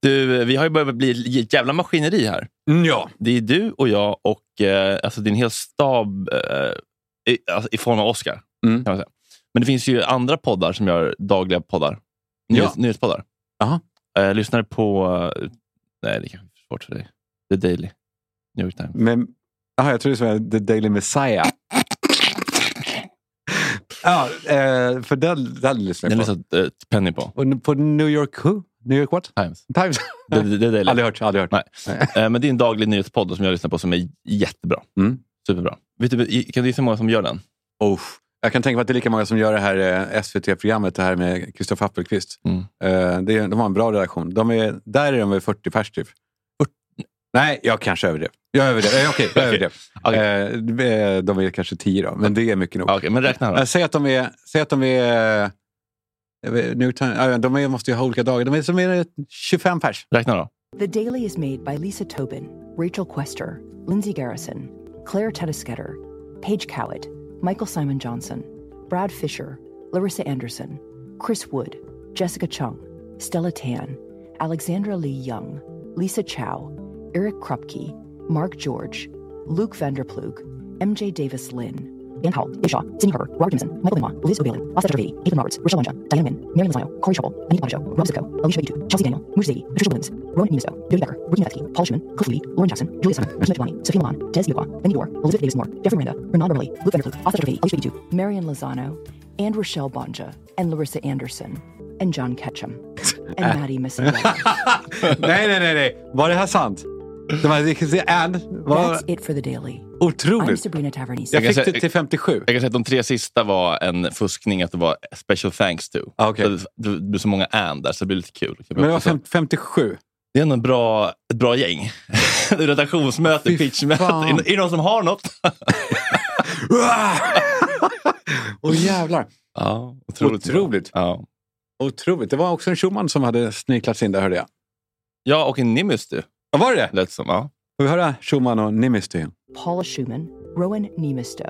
Speaker 1: Du, vi har ju börjat bli ett jävla maskineri här.
Speaker 2: Ja.
Speaker 1: Det är du och jag och eh, alltså din hel stab eh, i, alltså, i form av Oscar.
Speaker 2: Mm.
Speaker 1: Kan man säga. Men det finns ju andra poddar som gör dagliga poddar. Nyhets, Nyhetspoddar.
Speaker 2: Jaha.
Speaker 1: Eh, lyssnade på... eh, Nej, det kanske är svårt för dig. The Daily. New York Times.
Speaker 2: Men, aha, jag trodde det var The Daily Messiah. ja, eh, för den, den lyssnar
Speaker 1: Den
Speaker 2: jag på.
Speaker 1: lyssnade eh, Penny på.
Speaker 2: Och nu- på New York Who? New York what?
Speaker 1: Times.
Speaker 2: Times?
Speaker 1: The, the, the Daily.
Speaker 2: aldrig hört. Aldrig hört.
Speaker 1: Nej. Eh, men det är en daglig nyhetspodd som jag lyssnar på som är jättebra.
Speaker 2: Mm.
Speaker 1: Superbra. Vet du, i- kan du gissa hur många som gör den?
Speaker 2: Oh, jag kan tänka mig att det är lika många som gör det här eh, SVT-programmet, det här med Kristoffer Appelqvist.
Speaker 1: Mm.
Speaker 2: Eh, det, är- de har en bra relation. De är, där är de väl 40 pers typ? Nej, jag kanske överdrev. Jag överdrev. Eh, Okej, jag överdrev.
Speaker 1: Okej.
Speaker 2: Eh, de är kanske 10 då, men det är mycket nog.
Speaker 1: Ja, Okej, men räkna då.
Speaker 2: Eh, säg att de är... Säg att de är eh, jag vet- New York Times, ja, ja, de är, måste ju ha olika dagar. De är som är 25 pers.
Speaker 1: Räkna då.
Speaker 6: The Daily is made by Lisa Tobin, Rachel Quester, Lindsay Garrison, Claire Tedesketter, Paige Cowett, Michael Simon Johnson, Brad Fisher, Larissa Anderson, Chris Wood, Jessica Chung, Stella Tan, Alexandra Lee Young, Lisa Chow, Eric Krupke, Mark George, Luke Vanderplug, MJ Davis Lynn, Dan Howell, Dave Shaw, Cindy Harper, Robert Jimson, Michael Lima, Liz O'Balin, Asa Trevedi, Ethan Roberts, Rochelle Wanja, Diane Min, Mary Lozano, Corey Trouble, Anita Bonajo, Rob Zicko, Alicia Beatty, Chelsea Daniel, Mush Zady, Patricia Williams, Rowan Nemiso, Jody Becker, Ricky Nethke, Paul Schumann, Cliff Lee, Lauren Jackson, Julia Simon, Kina Devani, Sophia Milan, Des Iwa, Benny Dore, Elizabeth Davis Moore, Jeffrey Miranda, Renan Burley, Luke Vanderplug, Asa Trevedi, Alicia Beatty, Marion Lozano, and Rochelle Bonja, and Larissa Anderson, and John Ketchum, and Maddie Messiah.
Speaker 2: nej, nej, nej, nej. Var det här sant? De här, det kan se- and, var
Speaker 6: That's it for the Daily. I'm
Speaker 2: otroligt.
Speaker 6: Sabrina Tavernese.
Speaker 2: Jag
Speaker 1: Alltså, Jag kan
Speaker 2: fick
Speaker 1: säga-
Speaker 2: det till 57.
Speaker 1: Jag kan säga att de tre sista var en fuskning, att det var special thanks to.
Speaker 2: Ah, okej.
Speaker 1: Så det- det blev så många and där, så det blev lite kul.
Speaker 2: Men det var
Speaker 1: Alltså,
Speaker 2: fem- 57.
Speaker 1: det är ändå en bra, ett bra gäng. Redaktionsmöte,
Speaker 2: Fy
Speaker 1: pitchmöte.
Speaker 2: fan.
Speaker 1: Är det- Är det någon som har något?
Speaker 2: Åh jävlar.
Speaker 1: Ja, otroligt.
Speaker 2: Otroligt. Otroligt.
Speaker 1: Ja.
Speaker 2: Det var också en Schumann som hade sniklats in där hörde jag.
Speaker 1: ja, och en Nimbus du.
Speaker 2: Ja, var det det?
Speaker 1: Lät som. Ja.
Speaker 2: Får vi höra Schumann och Nimisty?
Speaker 6: Paula Schumann, Rowan Nemisto,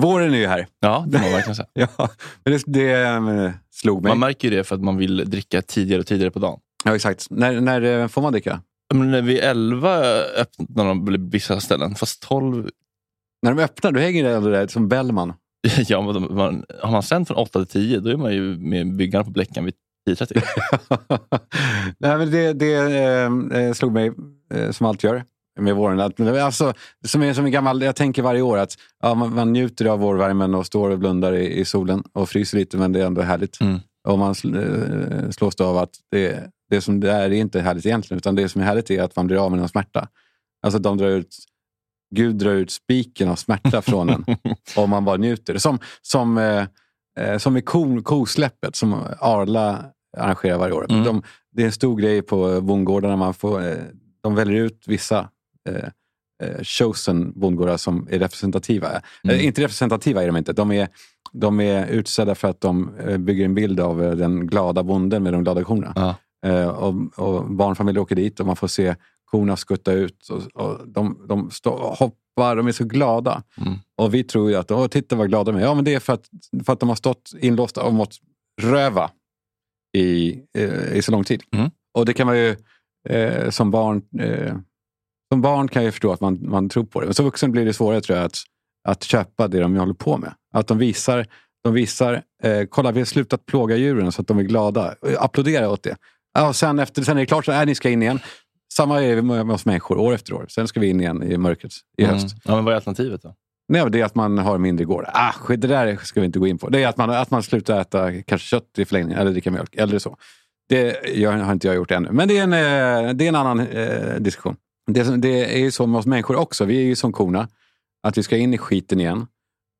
Speaker 2: Våren är ju här.
Speaker 1: ja, det må man verkligen säga.
Speaker 2: Ja, men det, det eh, slog mig.
Speaker 1: Man märker ju det för att man vill dricka tidigare och tidigare på dagen.
Speaker 2: Ja, exakt. När, när eh, får man dricka?
Speaker 1: Men när vi är 11 öppnar de väl vissa ställen, fast 12...
Speaker 2: När de öppnar, då hänger det ändå där som Bellman.
Speaker 1: Ja, men de- man, har man sänt från 8 till 10, då är man ju med byggarna på Bläckan vid 10.30.
Speaker 2: Nej, men det det eh, eh, slog mig, eh, som allt gör med våren. Att, men det var alltså, som, är, som är gammal, jag tänker varje år att ja, man, man njuter av vårvärmen och står och blundar i, i solen och fryser lite, men det är ändå härligt.
Speaker 1: Mm.
Speaker 2: Och man sl- eh, slås då av att det, det som det är, är inte härligt egentligen, utan det som är härligt är att man blir av med någon smärta. Alltså att de drar ut, Gud drar ut spiken av smärta från en om man bara njuter. Som, som, eh, eh, som i ko, kosläppet som Arla arrangerar varje år.
Speaker 1: Mm.
Speaker 2: De, det är en stor grej på bondgårdarna. Man får, eh, de väljer ut vissa eh, eh, chosen bondgårdar som är representativa.
Speaker 1: Mm.
Speaker 2: Eh, inte representativa är de inte. De är, de är utsedda för att de eh, bygger en bild av eh, den glada bonden med de glada korna.
Speaker 1: Ja.
Speaker 2: Eh, och, och barnfamiljer åker dit och man får se korna skutta ut. Och, och de de stå, hoppar, de är så glada.
Speaker 1: Mm.
Speaker 2: Och vi tror ju att, åh, titta vad glada de är. Ja, men det är för att, för att de har stått inlåsta och mått röva i, eh, i så lång tid.
Speaker 1: Mm.
Speaker 2: Och det kan man ju eh, som barn eh, som barn kan jag ju förstå att man, man tror på det. Men som vuxen blir det svårare tror jag att, att köpa det de håller på med. Att de visar, de visar eh, kolla vi har slutat plåga djuren så att de är glada. Eh, Applådera åt det. Ja, och sen, efter, sen är det klart, så här, "Äh, ni ska in igen. Samma är det med med oss människor år efter år. Sen ska vi in igen i mörkret i höst.
Speaker 1: Mm. Ja, men vad är alternativet då?
Speaker 2: Nej, men det är att man har mindre gårdar. Ah, skit, det där ska vi inte gå in på. Det är att man, att man slutar äta kanske kött i förlängningen, eller dricka mjölk, eller så. Det gör, har inte jag gjort ännu. Men det är en, eh, det är en annan eh, diskussion. Det, som- det är ju så med oss människor också. Vi är ju som korna. Att vi ska in i skiten igen.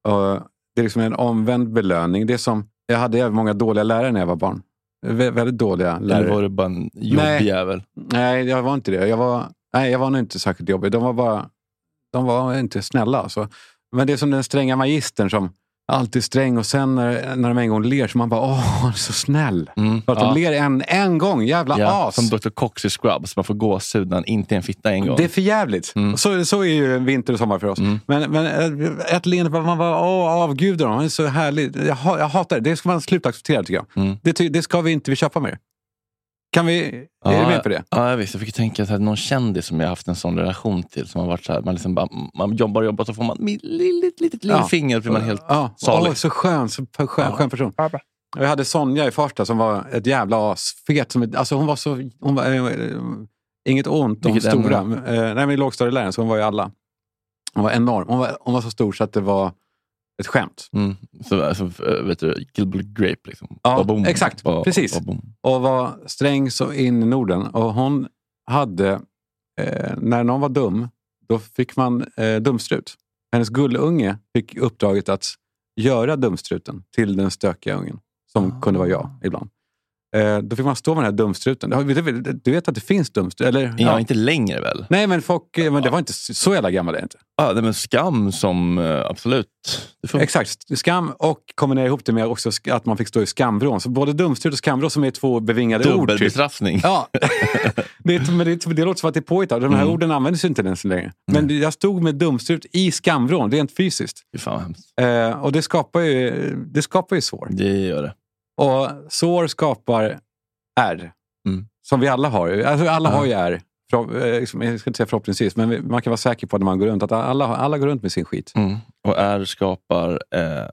Speaker 2: Och det är liksom en omvänd belöning. Det är som, jag hade jävligt många dåliga lärare när jag var barn. Vä- väldigt dåliga
Speaker 1: Eller
Speaker 2: lärare.
Speaker 1: var det bara en jobbig
Speaker 2: Nej.
Speaker 1: jävel?
Speaker 2: Nej, jag var inte det. Jag var, nej, jag var nog inte särskilt jobbig. De var bara de var inte snälla. Alltså. Men det är som den stränga magistern som alltid är sträng och sen när, när de en gång ler så man bara åh, han är så snäll.
Speaker 1: Mm.
Speaker 2: För att
Speaker 1: Ja.
Speaker 2: de ler en, en gång, jävla
Speaker 1: Ja,
Speaker 2: as.
Speaker 1: som Dr. Cox i Scrubs. Man får gåshud när han inte är en fitta en gång.
Speaker 2: Det är för jävligt.
Speaker 1: Mm.
Speaker 2: Så, så är ju vinter och sommar för oss.
Speaker 1: Mm.
Speaker 2: Men, men eh, ett leende, bara, man bara åh, avgudar honom. Han är så härlig. Jag, ha- jag hatar det. Det ska man sluta acceptera tycker jag.
Speaker 1: Mm.
Speaker 2: Det, ty- det ska vi inte vi köpa mer. Kan vi, är du med på det?
Speaker 1: Ja, ja, visst. Jag fick ju tänka att någon kändis som jag haft en sån relation till. Som har varit så här, man, liksom bara, man jobbar och jobbar så får man ett litet, litet
Speaker 2: Ja.
Speaker 1: lillfinger. blir man helt...
Speaker 2: ja.
Speaker 1: salig.
Speaker 2: Åh, så skön, så p- skön,
Speaker 1: Ja.
Speaker 2: skön person.
Speaker 4: Barbara.
Speaker 2: Vi hade Sonja i Farsta som var ett jävla as. Fet som ett, alltså hon var så... Hon var, eh, eh, inget ont om
Speaker 1: Vilket ämne?
Speaker 2: stora. men, Eh, nej, men lågstadieläraren, så hon var ju alla. Hon var enorm. Hon var, hon var så stor så att det var ett skämt.
Speaker 1: Mm. Så, så, äh, vet du, Gilbert Grape. Liksom.
Speaker 2: Ja, exakt.
Speaker 1: Ba-
Speaker 2: Precis.
Speaker 1: ba- boom.
Speaker 2: och var sträng så in i Norden. Och hon hade, eh, när någon var dum, då fick man eh, dumstrut. Hennes gullunge fick uppdraget att göra dumstruten till den stökiga ungen, som kunde vara jag ibland. Eh, då fick man stå med den här dumstruten. Du vet- Du vet att det finns dumstrut? Eller?
Speaker 1: Ja, inte längre väl?
Speaker 2: Nej, men, folk, eh, men det var inte så så jävla gammal det är inte.
Speaker 1: Ah, nej, men skam som... eh, Absolut. Det funkar.
Speaker 2: Exakt. Skam och kombinera ihop det med också sk- att man fick stå i skamvrån. Så både dumstrut och skamvrå som är två bevingade ord. typ.
Speaker 1: Dubbelbestraffning.
Speaker 2: Ja, det, är- men det, det låter som att det är påhittat. De här
Speaker 1: Mm.
Speaker 2: orden används ju inte ens längre. Men det- jag stod med dumstrut i skamvrån, rent fysiskt.
Speaker 1: Fy fan vad hemskt.
Speaker 2: Eh, och det skapar, ju, det skapar ju sår.
Speaker 1: Det gör det.
Speaker 2: Och sår skapar ärr.
Speaker 1: Mm.
Speaker 2: Som vi alla har. ju. Alltså, alla har ju ärr. Förhopp- eh, liksom, Jag ska inte säga förhoppningsvis, men vi- man kan vara säker på när man går runt att alla, har- alla går runt med sin skit.
Speaker 1: Mm. Och är skapar eh,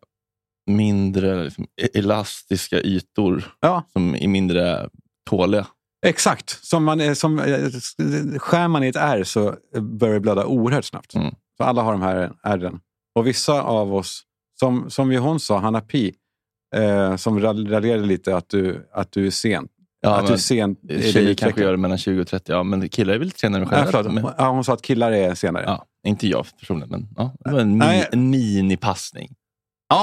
Speaker 1: mindre liksom, e- elastiska ytor
Speaker 2: Ja.
Speaker 1: som är mindre tåliga.
Speaker 2: Exakt. Som man, är- som, eh, s- skär man i ett ärr så börjar det blöda oerhört snabbt.
Speaker 1: Mm.
Speaker 2: Så alla har de här ärren. Och vissa av oss, som, som ju hon sa, Hanna Pi, eh, som rall- raljerade lite att du, att du är sen.
Speaker 1: Ja,
Speaker 2: att du är sen i din
Speaker 1: Tjejer kanske
Speaker 2: utveckling.
Speaker 1: gör det mellan 20 och 30. Ja, men killar är väl lite senare
Speaker 2: Nej,
Speaker 1: generellt.
Speaker 2: förlåt.
Speaker 1: men,
Speaker 2: Ja, hon sa att killar är senare. Ja,
Speaker 1: ja, inte jag personligen, men ja, det var en,
Speaker 2: Nej.
Speaker 1: mi, en minipassning.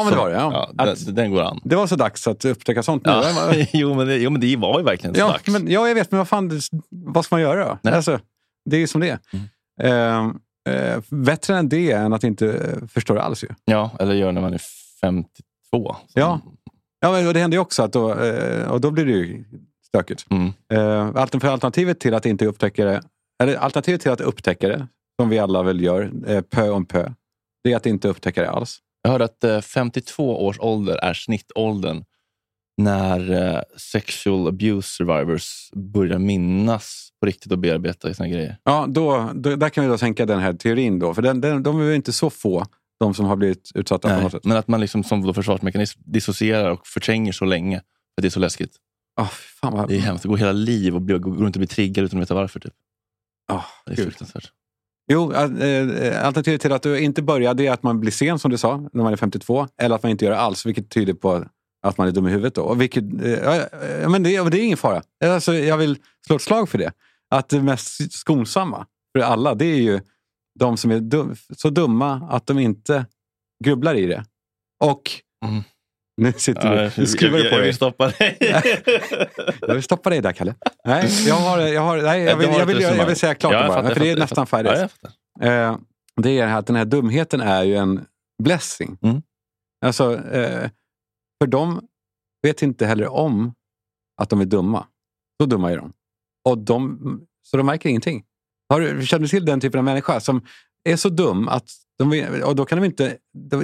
Speaker 2: men det var det. Ja.
Speaker 1: Ja,
Speaker 2: att,
Speaker 1: den, den går an.
Speaker 2: det var så dags att upptäcka sånt nu.
Speaker 1: Ja. jo, men det, jo, men det var ju verkligen så
Speaker 2: Ja,
Speaker 1: dags.
Speaker 2: men, ja, jag vet, men vad fan, det- vad ska man göra då?
Speaker 1: Nej. Mm.
Speaker 2: Alltså, det är ju som det är. Ehm, eh, bättre än det än att inte eh, förstå det alls ju.
Speaker 1: Ja, eller gör när man är 52.
Speaker 2: Ja. Ja, men och det händer ju också att då, eh, och då blir det ju stökigt.
Speaker 1: Mm.
Speaker 2: Eh, alter- För alternativet till att inte upptäcka det, eller alternativet till att upptäcka det, som vi alla väl gör, eh, pö om pö, det är att inte upptäcka det alls.
Speaker 1: Jag hörde att eh, 52 års ålder är snittåldern när eh, sexual abuse survivors börjar minnas på riktigt och bearbeta sina grejer.
Speaker 2: Ja, då, då, där kan vi då sänka den här teorin då, för den, den, de är ju inte så få, de som har blivit utsatta på
Speaker 1: Nej,
Speaker 2: något sätt.
Speaker 1: men att man liksom som då försvarsmekanism dissocierar och förtränger så länge för att det är så läskigt.
Speaker 2: Ah, fan vad...
Speaker 1: Det är hemskt. Att gå hela liv och bli, gå runt och bli triggad utan att veta varför. Typ.
Speaker 2: ah,
Speaker 1: Det är
Speaker 2: gud.
Speaker 1: fruktansvärt.
Speaker 2: Jo, eh, eh, alternativet till att du inte börjar det är att man blir sen, som du sa, när man är 52. Eller att man inte gör det alls, vilket tyder på att man är dum i huvudet. Då. Och vilket, eh, ja, ja, men det, det är ingen fara. Alltså, jag vill slå ett slag för det. Att det mest skonsamma för alla, det är ju de som är dum, så dumma att de inte grubblar i det. Och
Speaker 1: Mm.
Speaker 2: nu sitter du nu skruvar du på
Speaker 1: jag, jag
Speaker 2: dig.
Speaker 1: vill stoppa dig.
Speaker 2: Jag vill stoppa dig där, Kalle. Nej, jag, har, jag, har, nej, jag, vill, jag, vill, jag, vill, säga klart
Speaker 1: Ja, jag
Speaker 2: bara,
Speaker 1: fattar,
Speaker 2: för det är
Speaker 1: jag fattar,
Speaker 2: nästan
Speaker 1: jag fattar.
Speaker 2: färdigt.
Speaker 1: Ja, jag fattar.
Speaker 2: eh, det är att den här dumheten är ju en blessing.
Speaker 1: Mm.
Speaker 2: Alltså, eh, för de vet inte heller om att de är dumma. Så dumma är de. Och de så de märker ingenting. Har, du- känner du till den typen av människa som är så dum att de, och då kan de inte,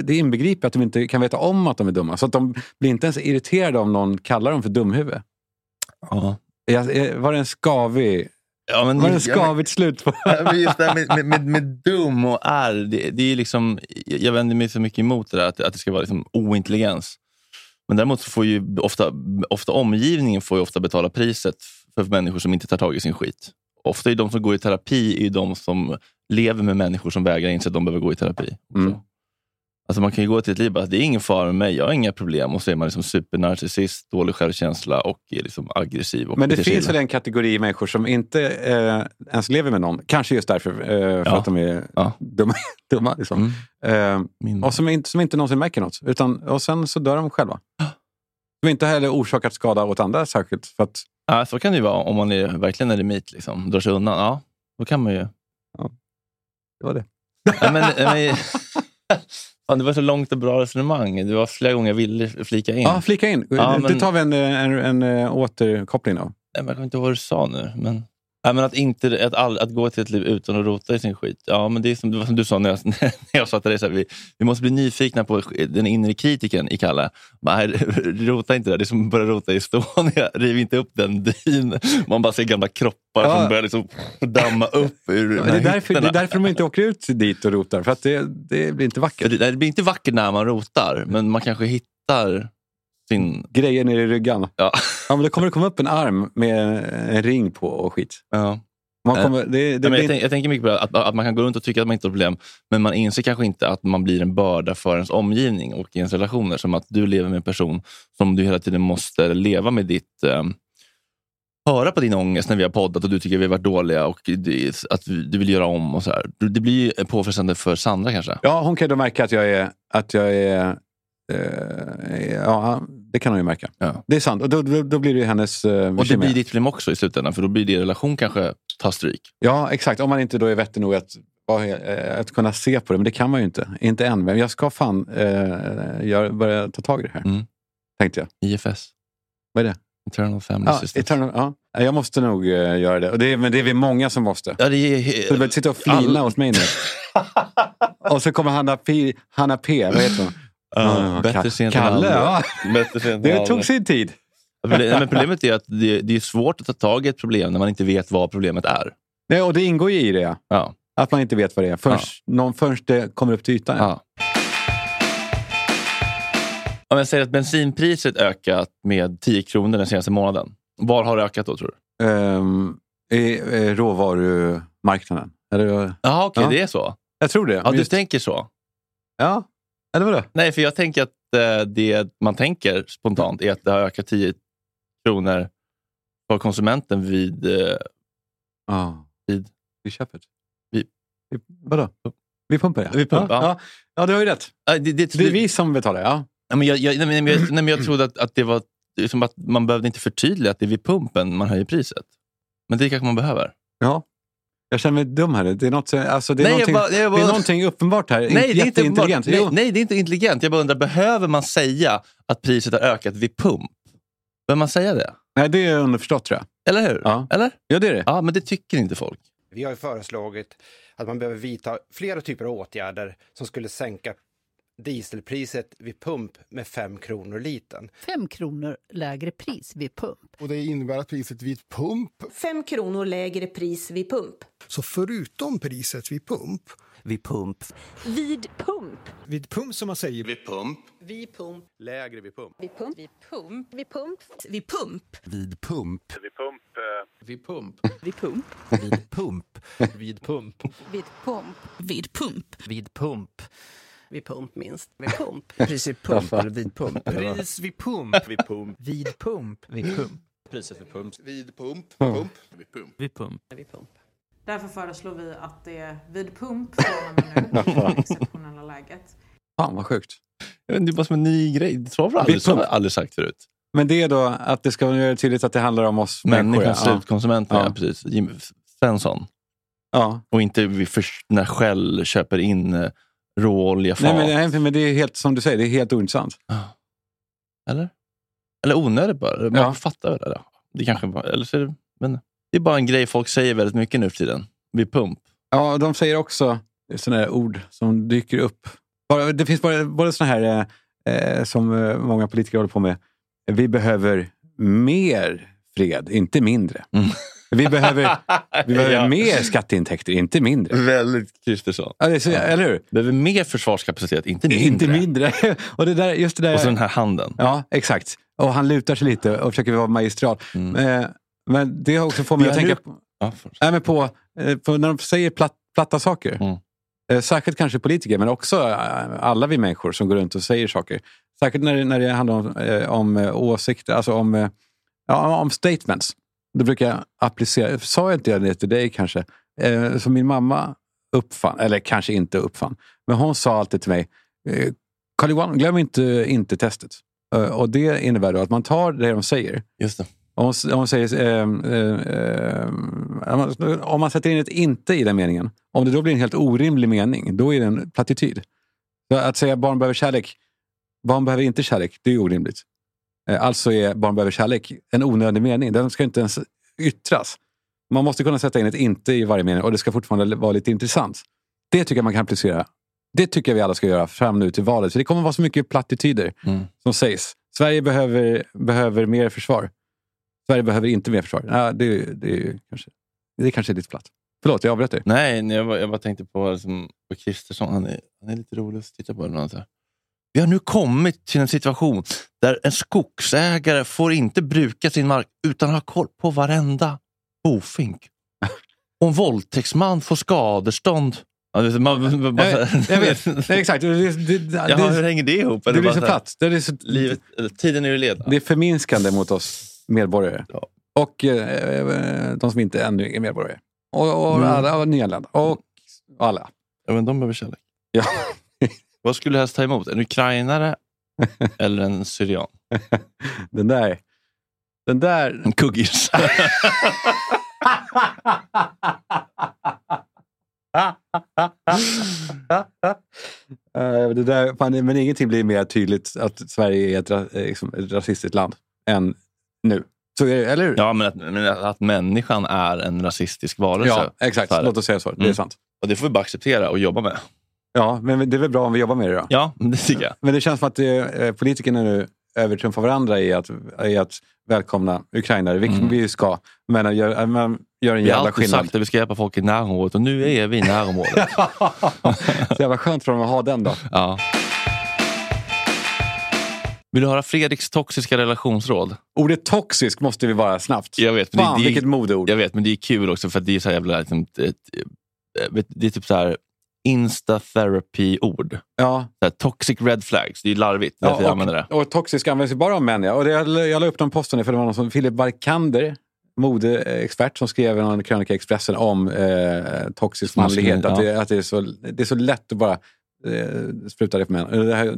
Speaker 2: det inbegriper att de inte kan veta om att de är dumma. Så att de blir inte ens irriterade om någon kallar dem för dumhuvud.
Speaker 1: Ja.
Speaker 2: Jag, jag, var det en skavig,
Speaker 1: Ja, men,
Speaker 2: var det en
Speaker 1: Ja, men-
Speaker 2: skavigt slut på?
Speaker 1: Ja, men just det här med, med, med, med dum och är, det, det är liksom, jag vänder mig så mycket emot det där att, att det ska vara liksom ointelligens. Men däremot så får ju ofta, ofta omgivningen får ju ofta betala priset för människor som inte tar tag i sin skit. Ofta är de som går i terapi är ju de som lever med människor som vägrar inse att de behöver gå i terapi.
Speaker 2: Mm.
Speaker 1: Så. Alltså man kan ju gå till ett liv och bara, att det är ingen fara med mig, jag har inga problem. Och så är man liksom supernarcissist, dålig självkänsla och är liksom aggressiv. Och
Speaker 2: Men det
Speaker 1: beter sig
Speaker 2: finns
Speaker 1: illa.
Speaker 2: väl en kategori människor som inte eh, ens lever med någon. Kanske just därför, eh, för
Speaker 1: Ja.
Speaker 2: att de är
Speaker 1: Ja.
Speaker 2: dumma. dumma liksom.
Speaker 1: Mm.
Speaker 2: eh,
Speaker 1: Min-
Speaker 2: och som inte, som inte någonsin märker något. Utan, och sen så dör de själva. Som inte heller orsakat skada åt andra särskilt. För att,
Speaker 1: Ja, så kan det ju vara om man är verkligen är eremit. Liksom, drar sig undan. Ja, då kan man ju...
Speaker 2: det var det.
Speaker 1: Ja, men, men, fan, det var så långt och bra resonemang. Det var flera gånger jag ville flika in.
Speaker 2: Ja, flika in.
Speaker 1: Ja,
Speaker 2: det
Speaker 1: men-
Speaker 2: tar vi en, eh, en, en, eh, återkoppling av.
Speaker 1: Nej, men jag kommer inte ihåg vad du sa nu. Men, ja, men att, inte, att, all, att gå till ett liv utan att rota i sin skit. Ja, men det är som, det var som du sa när jag, när jag sa till dig. Så här, vi, vi måste bli nyfikna på den inre kritiken i Kalle. Nej, rota inte där. Det är som att börja rota i Estonia. Riv inte upp den dyn. Man bara ser gamla kroppar
Speaker 2: Ja.
Speaker 1: som börjar liksom damma upp ur
Speaker 2: Det
Speaker 1: de här
Speaker 2: är, därför, det
Speaker 1: hytterna.
Speaker 2: är därför de inte åker ut dit och rotar. För att det, det blir inte
Speaker 1: Ja,
Speaker 2: vackert.
Speaker 1: Det, det blir inte vackert när man rotar, men man kanske hittar sin...
Speaker 2: Grejer nere i ryggan.
Speaker 1: Ja.
Speaker 2: Ja, men då kommer det komma upp en arm med en ring på och skit.
Speaker 1: Ja.
Speaker 2: Man
Speaker 1: Eh,
Speaker 2: kommer, det, det
Speaker 1: Nej, men
Speaker 2: blir
Speaker 1: jag,
Speaker 2: inte,
Speaker 1: tänk, jag tänker mycket på det, att, att man kan gå runt och tycka att man inte har problem, men man inser kanske inte att man blir en börda för ens omgivning och i ens relationer. Som att du lever med en person som du hela tiden måste leva med ditt... ehm, höra på din ångest när vi har poddat och du tycker vi har varit dåliga och det, att du vill göra om och så här. Det blir ju påfrestande för Sandra kanske.
Speaker 2: Ja, hon kan ju då märka att jag är... Att jag är eh, ja, det kan hon ju märka.
Speaker 1: Ja.
Speaker 2: Det är sant. Och då, då, då blir det ju hennes eh,
Speaker 1: Och det
Speaker 2: bekymmer.
Speaker 1: blir ditt problem också i slutändan, för då blir din relation kanske ta stryk.
Speaker 2: Ja, exakt. Om man inte då är vettig nog att, vara, eh, att kunna se på det. Men det kan man ju inte. Inte än. Men jag ska fan eh, jag börja ta tag i det här.
Speaker 1: Mm.
Speaker 2: Tänkte jag.
Speaker 1: IFS.
Speaker 2: Vad är det?
Speaker 1: Eternal Family
Speaker 2: Ja,
Speaker 1: System.
Speaker 2: eternal, ja. Jag måste nog eh, göra det. Och det är, men det är vi många som måste.
Speaker 1: Ja, det är...
Speaker 2: Så du behöver sitta och flina
Speaker 1: All-
Speaker 2: åt mig nu. och så kommer Hanna P. Hanna P. Vad heter hon?
Speaker 1: Ja, bättre
Speaker 2: Ka-
Speaker 1: sent än aldrig.
Speaker 2: Kalle, ja.
Speaker 1: Bättre sent än
Speaker 2: Det
Speaker 1: aldrig.
Speaker 2: tog sin tid.
Speaker 1: Proble- Nej, men problemet är att det, det är svårt att ta tag i ett problem när man inte vet vad problemet är.
Speaker 2: Nej, och det ingår ju i det, ja.
Speaker 1: Ja.
Speaker 2: att man inte vet vad det är förrän, någon, förrän det kommer upp till ytan.
Speaker 1: Ja. Om jag säger att bensinpriset ökat med 10 kronor den senaste månaden. Var har det ökat då tror du?
Speaker 2: Ehm, i, eh, råvarumarknaden. Eller,
Speaker 1: Jaha, okej,
Speaker 2: Ja.
Speaker 1: det är så.
Speaker 2: jag tror det.
Speaker 1: Ja,
Speaker 2: men
Speaker 1: du
Speaker 2: just-
Speaker 1: tänker så.
Speaker 2: ja. Eller vadå?
Speaker 1: Nej, för jag tänker att eh, det man tänker spontant är att det har ökat 10 kronor för konsumenten vid... Eh,
Speaker 2: Ja.
Speaker 1: Vid-
Speaker 2: Vid köpet.
Speaker 1: Vid-
Speaker 2: Vid- vadå? Vid pumpen, ja.
Speaker 1: Vid pump,
Speaker 2: ja.
Speaker 1: ja.
Speaker 2: Ja. ja, du har ju rätt.
Speaker 1: äh, det, det,
Speaker 2: Det är vi som betalar, ja.
Speaker 1: Ja, men jag, jag, nej, men- nej, men jag, nej, men jag trodde att, att det var liksom att man behövde inte förtydliga att det är vid pumpen man höjer priset. Men det kanske man behöver.
Speaker 2: ja. Jag känner mig dum här. Det är, något, som- alltså, det är,
Speaker 1: Nej, jag
Speaker 2: någonting,
Speaker 1: bara- jag bara-
Speaker 2: det är någonting uppenbart här.
Speaker 1: Nej, det är inte
Speaker 2: Jätteintelligent.
Speaker 1: uppenbart.
Speaker 2: Jo.
Speaker 1: Nej, nej, det är inte intelligent. Jag bara undrar, behöver man säga att priset har ökat vid pump? Behöver man säga det?
Speaker 2: Nej, det är underförstått tror jag.
Speaker 1: Eller hur?
Speaker 2: Ja.
Speaker 1: Eller?
Speaker 2: Ja, det är det.
Speaker 1: Ja, men det tycker inte folk.
Speaker 7: Vi har ju föreslagit att man behöver vidta flera typer av åtgärder som skulle sänka dieselpriset vid pump med 5 kronor litern.
Speaker 8: 5 kronor lägre pris vid pump.
Speaker 7: Och det innebär att priset vid pump...
Speaker 8: 5 kronor lägre pris vid pump.
Speaker 7: Så förutom priset vid pump... Vid pump.
Speaker 8: Vid pump.
Speaker 7: Vid pump som man säger. Vid pump.
Speaker 8: Vid pump.
Speaker 7: Lägre vid pump.
Speaker 8: Vid pump. Vid pump. Vid pump. Vid pump.
Speaker 7: Vid pump.
Speaker 9: Vid pump.
Speaker 8: Vid pump.
Speaker 7: Vid pump.
Speaker 9: Vid pump.
Speaker 8: Vid pump. Vid pump.
Speaker 9: Vid pump.
Speaker 8: Vid pump minst. Vid pump.
Speaker 9: Pris vid pump eller vid pump. Pris vid pump. Vid pump. Vid pump. Vid pump. Priset vid pump. Vid pump. Pump. Vid pump. Vid pump.
Speaker 8: Vid pump. Därför föreslår vi att det är vid pump från och med nu, i exceptionella läget.
Speaker 2: Fan vad sjukt.
Speaker 1: Jag vet inte, Det är bara som en ny grej. Det har vi aldrig,
Speaker 2: Vid
Speaker 1: så har vi
Speaker 2: pump.
Speaker 1: aldrig sagt förut.
Speaker 2: Men det är då att det ska göra tydligt att det handlar om oss människor.
Speaker 1: Människan,
Speaker 2: ja.
Speaker 1: slutkonsumenten, ja.
Speaker 2: Ja.
Speaker 1: precis. Jim Svensson.
Speaker 2: Ja.
Speaker 1: Och inte vid först, när Shell köper in eh, råoljefat.
Speaker 2: Nej, men, nej, men det är helt som du säger, det är helt ointressant.
Speaker 1: Eller? Eller onödigt bara. Man fattar väl det. Där. det kanske bara, eller så är det, men, det är bara en grej folk säger väldigt mycket nu för tiden. Vid pump.
Speaker 2: Ja, de säger också sådana här ord som dyker upp. Bara, det finns bara, bara sådana här eh, som eh, många politiker håller på med. Vi behöver mer fred, inte mindre. Vi behöver, vi
Speaker 1: Mm.
Speaker 2: behöver
Speaker 1: Ja.
Speaker 2: mer skatteintäkter, inte mindre.
Speaker 1: Väldigt Kristersson.
Speaker 2: Ja, det är så, Eller hur?
Speaker 1: Behöver mer försvarskapacitet, inte mindre.
Speaker 2: Inte mindre. och, det där, just det där,
Speaker 1: Och så den här handen.
Speaker 2: Ja, exakt. Och han lutar sig lite och försöker vara magistral. Eh, men det har också fått mig
Speaker 1: Mm. Men
Speaker 2: att
Speaker 1: jag
Speaker 2: tänka
Speaker 1: lut-
Speaker 2: på,
Speaker 1: Ja, för-
Speaker 2: nej, men på, eh, på när de säger platt, platta saker. Eh, särskilt kanske politiker, men också eh, alla vi människor som går runt och säger saker. Särskilt när, det- när det handlar om, eh, om eh, åsikter, alltså om, eh, ja, om statements. Då brukar jag applicera, sa jag inte det till dig kanske? Eh, som min mamma uppfann, eller kanske inte uppfann, men hon sa alltid till mig, eh, Carl Johan, glöm inte, inte testet. Eh, och det innebär då att man tar det de säger.
Speaker 1: Just det.
Speaker 2: Om, om, säger, ehm, ehm, ehm, om man- om man sätter in ett inte i den meningen, om det då blir en helt orimlig mening, då är det en plattityd. Så att säga barn behöver kärlek, barn behöver inte kärlek, det är ju orimligt. Eh, Alltså är barn behöver kärlek en onödig mening. Den ska inte ens yttras. Man måste kunna sätta in ett inte i varje mening och det ska fortfarande vara lite intressant. Det tycker jag man kan applicera. Det tycker jag vi alla ska göra fram nu till valet. För det kommer vara så mycket plattityder som sägs. Sverige behöver, behöver mer försvar. Sverige behöver inte mer försvar. Ja, det, det, är ju kanske, det är kanske är ditt platt. Förlåt, jag avbröt dig.
Speaker 1: Nej, nej, jag bara, jag bara tänkte på, liksom, på Kristersson. Han är, han är lite rolig att titta på. Ibland, så här. Vi har nu kommit till en situation där en skogsägare får inte bruka sin mark utan ha koll på varenda bofink. Och en våldtäktsman får skadestånd. Ja, det är så- man, man, man,
Speaker 2: Jag, jag vet, Nej, exakt. Det, det, det,
Speaker 1: Jaha, hur hänger det ihop?
Speaker 2: Det,
Speaker 1: Eller
Speaker 2: blir
Speaker 1: bara
Speaker 2: så
Speaker 1: så här-
Speaker 2: platt. Det, är så,
Speaker 1: Livet, eller, tiden är ju led.
Speaker 2: det är förminskande mot oss medborgare. Och eh, de som inte ännu är medborgare. Och, och
Speaker 1: Mm.
Speaker 2: alla och nyanlända. Och alla.
Speaker 1: Ja, men de behöver kärlek.
Speaker 2: Ja.
Speaker 1: Vad skulle du helst ta emot? En ukrainare eller en syrian?
Speaker 2: Den där... Den där...
Speaker 1: En kuggis.
Speaker 2: Eh, det där, fan, men ingenting blir mer tydligt att Sverige är ett, ra- eh, liksom, ett rasistiskt land än nu. Så är det, eller hur?
Speaker 1: Ja, men att, men att människan är en rasistisk varelse.
Speaker 2: Ja,
Speaker 1: Alltså,
Speaker 2: exakt.
Speaker 1: Så här.
Speaker 2: Låt oss säga så. Det är
Speaker 1: Mm.
Speaker 2: sant.
Speaker 1: Och det får vi bara acceptera och jobba med.
Speaker 2: Ja, men det är väl bra om vi jobbar med det då?
Speaker 1: Ja, det tycker jag.
Speaker 2: Men det känns som att det, eh, politikerna nu övertrumfar varandra i att, i att välkomna ukrainare, vilket vi ju ska. Men att gör, man gör en
Speaker 1: Mm. Vi har
Speaker 2: jävla
Speaker 1: alltid
Speaker 2: skillnad.
Speaker 1: sagt att vi ska hjälpa folk i närområdet och nu är vi i närområdet.
Speaker 2: Så jävla skönt för dem att ha den då.
Speaker 1: ja. Vill du höra Fredriks toxiska relationsråd?
Speaker 2: Ordet toxisk måste vi vara snabbt.
Speaker 1: Jag vet,
Speaker 2: Fan, vilket modeord.
Speaker 1: Jag vet, men det är kul också för att det är så här jävla... Liksom, ett, ett- vet- det är typ så här insta-therapy-ord.
Speaker 2: Ja.
Speaker 1: Så här, toxic red flags. Det är larvigt. Ja, jag använder det.
Speaker 2: och, och toxisk används ju bara av män. Ja. Och det, jag, la- jag la upp de posterna för det var någon som, Philip Barkander, modeexpert, som skrev en krönika i Expressen om eh, toxisk
Speaker 1: Maskulin,
Speaker 2: manlighet. Att,
Speaker 1: ja.
Speaker 2: det, att det, är så, det är så lätt att bara eh, spruta det på män. Och Det här,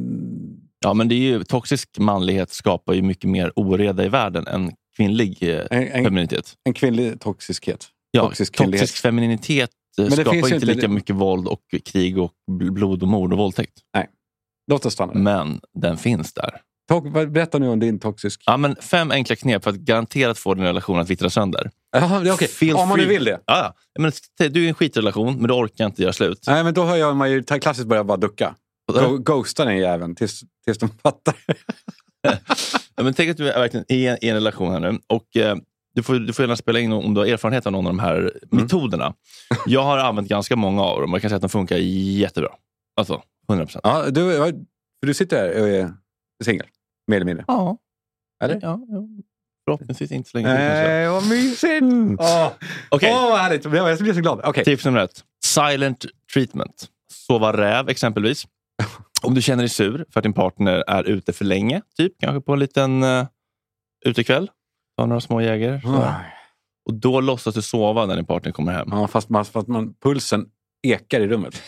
Speaker 1: Ja, men det är ju, toxisk manlighet skapar ju mycket mer oreda i världen än kvinnlig eh,
Speaker 2: en-
Speaker 1: femininitet.
Speaker 2: en kvinnlig toxiskhet.
Speaker 1: Ja,
Speaker 2: toxisk
Speaker 1: toxisk,
Speaker 2: kvinnlighet.
Speaker 1: femininitet eh,
Speaker 2: Men det
Speaker 1: skapar
Speaker 2: finns ju
Speaker 1: inte
Speaker 2: inte-
Speaker 1: lika mycket våld och krig och bl- blod och mord och våldtäkt.
Speaker 2: Nej, låt oss stanna
Speaker 1: Men den finns där.
Speaker 2: Tok, vad- berätta nu om din toxisk...
Speaker 1: Ja, men fem enkla knep för att garanterat få din relation att vittra sönder.
Speaker 2: Ja, det är okej.
Speaker 1: Feel
Speaker 2: Om man nu
Speaker 1: free-
Speaker 2: vill det.
Speaker 1: Ja, ja. Jag menar, t- du är i en skitrelation, men du orkar inte göra slut.
Speaker 2: Nej, men då har jag man ju klassiskt börjat bara ducka. Då ghostar den jäveln tills, tills de fattar.
Speaker 1: Ja, men tänk att du är verkligen i en, i en relation här nu. Och, eh, du, får, du får gärna spela in om du har erfarenhet av någon av de här
Speaker 2: Mm.
Speaker 1: metoderna. Jag har använt ganska många av dem och jag kan säga att de funkar jättebra. Alltså, 100 procent.
Speaker 2: Ja, du, ja, för du sitter här och är singel, mer eller mindre.
Speaker 1: Ja.
Speaker 2: Eller?
Speaker 1: Ja, ja. Förhoppningsvis inte så länge till. kanske.
Speaker 2: Nej, Eh, vad mysigt! Åh,
Speaker 1: Okej.
Speaker 2: Åh, vad härligt! Jag blir så glad. Okej.
Speaker 1: Tips nummer ett. Silent treatment. Sova räv exempelvis. Om du känner dig sur för att din partner är ute för länge, typ kanske på en liten uh, utekväll. Ta några små jägare. så.
Speaker 2: Ah.
Speaker 1: Och då låtsas du sova när din partner kommer hem.
Speaker 2: Ja, fast, man, fast man, pulsen ekar i rummet.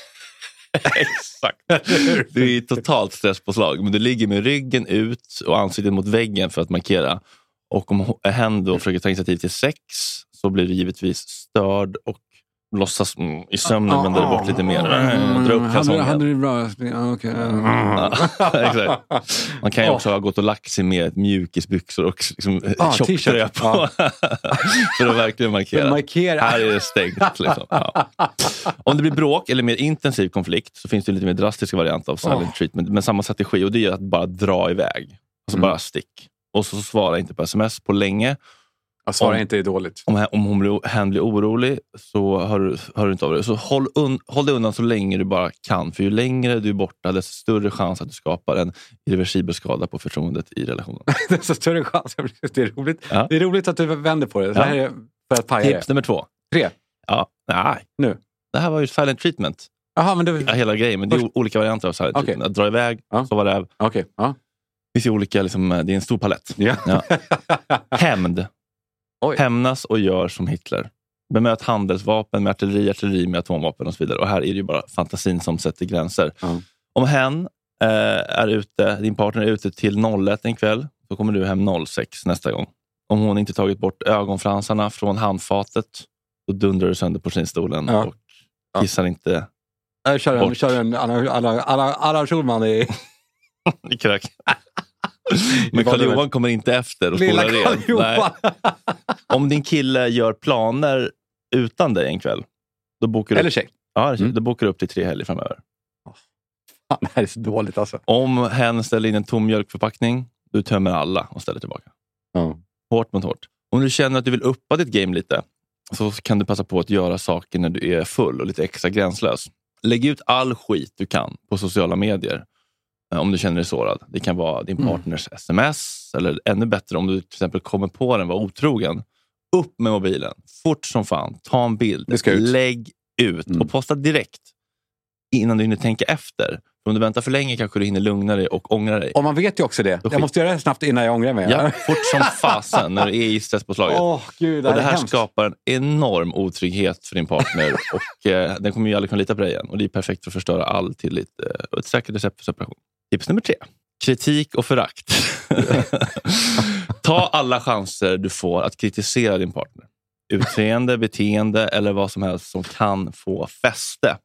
Speaker 1: Exakt. Du är i totalt stresspåslag, men du ligger med ryggen ut och ansiktet mot väggen för att markera. Och om hen då försöker ta initiativ till sex så blir du givetvis störd och låtsas mm, i sömnen
Speaker 2: Ja,
Speaker 1: vända det
Speaker 2: ja.
Speaker 1: bort lite
Speaker 2: ah.
Speaker 1: mer. Mm, dra upp
Speaker 2: hade,
Speaker 1: kalsongen.
Speaker 2: hade det bra älskling? Ja, okej. Mm.
Speaker 1: Ja, exakt. Man kan ju också ha gått och lagt sig med ett mjukisbyxor och liksom ett
Speaker 2: Ah,
Speaker 1: tjockt
Speaker 2: t-shirt.
Speaker 1: trä på. För att verkligen markera.
Speaker 2: För att markera.
Speaker 1: Här är det stängt. Liksom. Ja. Om det blir bråk eller mer intensiv konflikt så finns det lite mer drastiska varianter av silent
Speaker 2: Oh.
Speaker 1: treatment. Men samma strategi och det är att bara dra iväg. Alltså
Speaker 2: Mm.
Speaker 1: bara stick. Och så svara inte på sms på länge.
Speaker 2: svara
Speaker 1: Om-
Speaker 2: inte är dåligt.
Speaker 1: Om, om hon blir, hen blir orolig så hör, du- hör du inte av dig. Så håll, un, håll dig undan så länge du bara kan. För ju längre du är borta, desto större chans att du skapar en irreversibel skada på förtroendet i relationen.
Speaker 2: desto större chans. Det är roligt, det är roligt att du vänder på det. Det
Speaker 1: Ja.
Speaker 2: här är för att paja
Speaker 1: Tips nummer två.
Speaker 2: Tre?
Speaker 1: Ja, nej.
Speaker 2: Nu.
Speaker 1: Det här var ju silent treatment.
Speaker 2: Aha, men det...
Speaker 1: Hela grejen, men det är o- olika varianter av silent treatment. Att dra iväg, sova räv.
Speaker 2: Okay. Ja.
Speaker 1: Det, finns ju olika, liksom, eh, det är en stor palett. Ja. Hämnd. Hämnas och gör som Hitler. Bemöt handelsvapen med artilleri, artilleri med atomvapen och så vidare. Och här är det ju bara fantasin som sätter gränser. Om hen eh, är ute, din partner är ute till 01 en kväll, då kommer du hem 06 nästa gång. Om hon inte tagit bort ögonfransarna från handfatet, då dundrar du sönder porslinsstolen
Speaker 2: Ja.
Speaker 1: och kissar inte
Speaker 2: Jag kör en,
Speaker 1: Bort.
Speaker 2: kör en alla, alla, alla, alla Schulman i...
Speaker 1: i krök. Men Karl Johan kommer inte efter och
Speaker 2: Lilla
Speaker 1: spolar
Speaker 2: Karl
Speaker 1: ren.
Speaker 2: Johan.
Speaker 1: Om din kille gör planer utan dig en kväll, då bokar du
Speaker 2: Eller Mm.
Speaker 1: upp.
Speaker 2: tjej.
Speaker 1: Ja, eller tjej. Då bokar du upp till tre helger framöver.
Speaker 2: Fan, det här är så dåligt alltså.
Speaker 1: Om hen ställer in en tom mjölkförpackning, du tömmer alla och ställer tillbaka. Hårt mot hårt. Om du känner att du vill uppa ditt game lite, så kan du passa på att göra saker när du är full och lite extra gränslös. Lägg ut all skit du kan på sociala medier eh, om du känner dig sårad. Det kan vara din
Speaker 2: Mm.
Speaker 1: partners sms, eller ännu bättre om du till exempel kommer på den var otrogen. Upp med mobilen, fort som fan. Ta en bild, lägg ut och posta direkt innan du hinner tänka efter. För om du väntar för länge kanske du hinner lugna dig och ångra dig.
Speaker 2: Och man vet ju också det. Jag måste göra det här snabbt innan jag ångrar mig.
Speaker 1: Ja, fort som fasen när du är i stresspåslaget.
Speaker 2: Åh, gud, det
Speaker 1: och det
Speaker 2: här är
Speaker 1: här
Speaker 2: hemskt.
Speaker 1: skapar en enorm otrygghet för din partner och eh, den kommer ju aldrig kunna lita på dig igen. Och det är perfekt för att förstöra all tillit eh, och ett säkert recept för separation. Tips nummer tre. Kritik och förakt. Ta alla chanser du får att kritisera din partner. Utseende, beteende eller vad som helst som kan få fäste.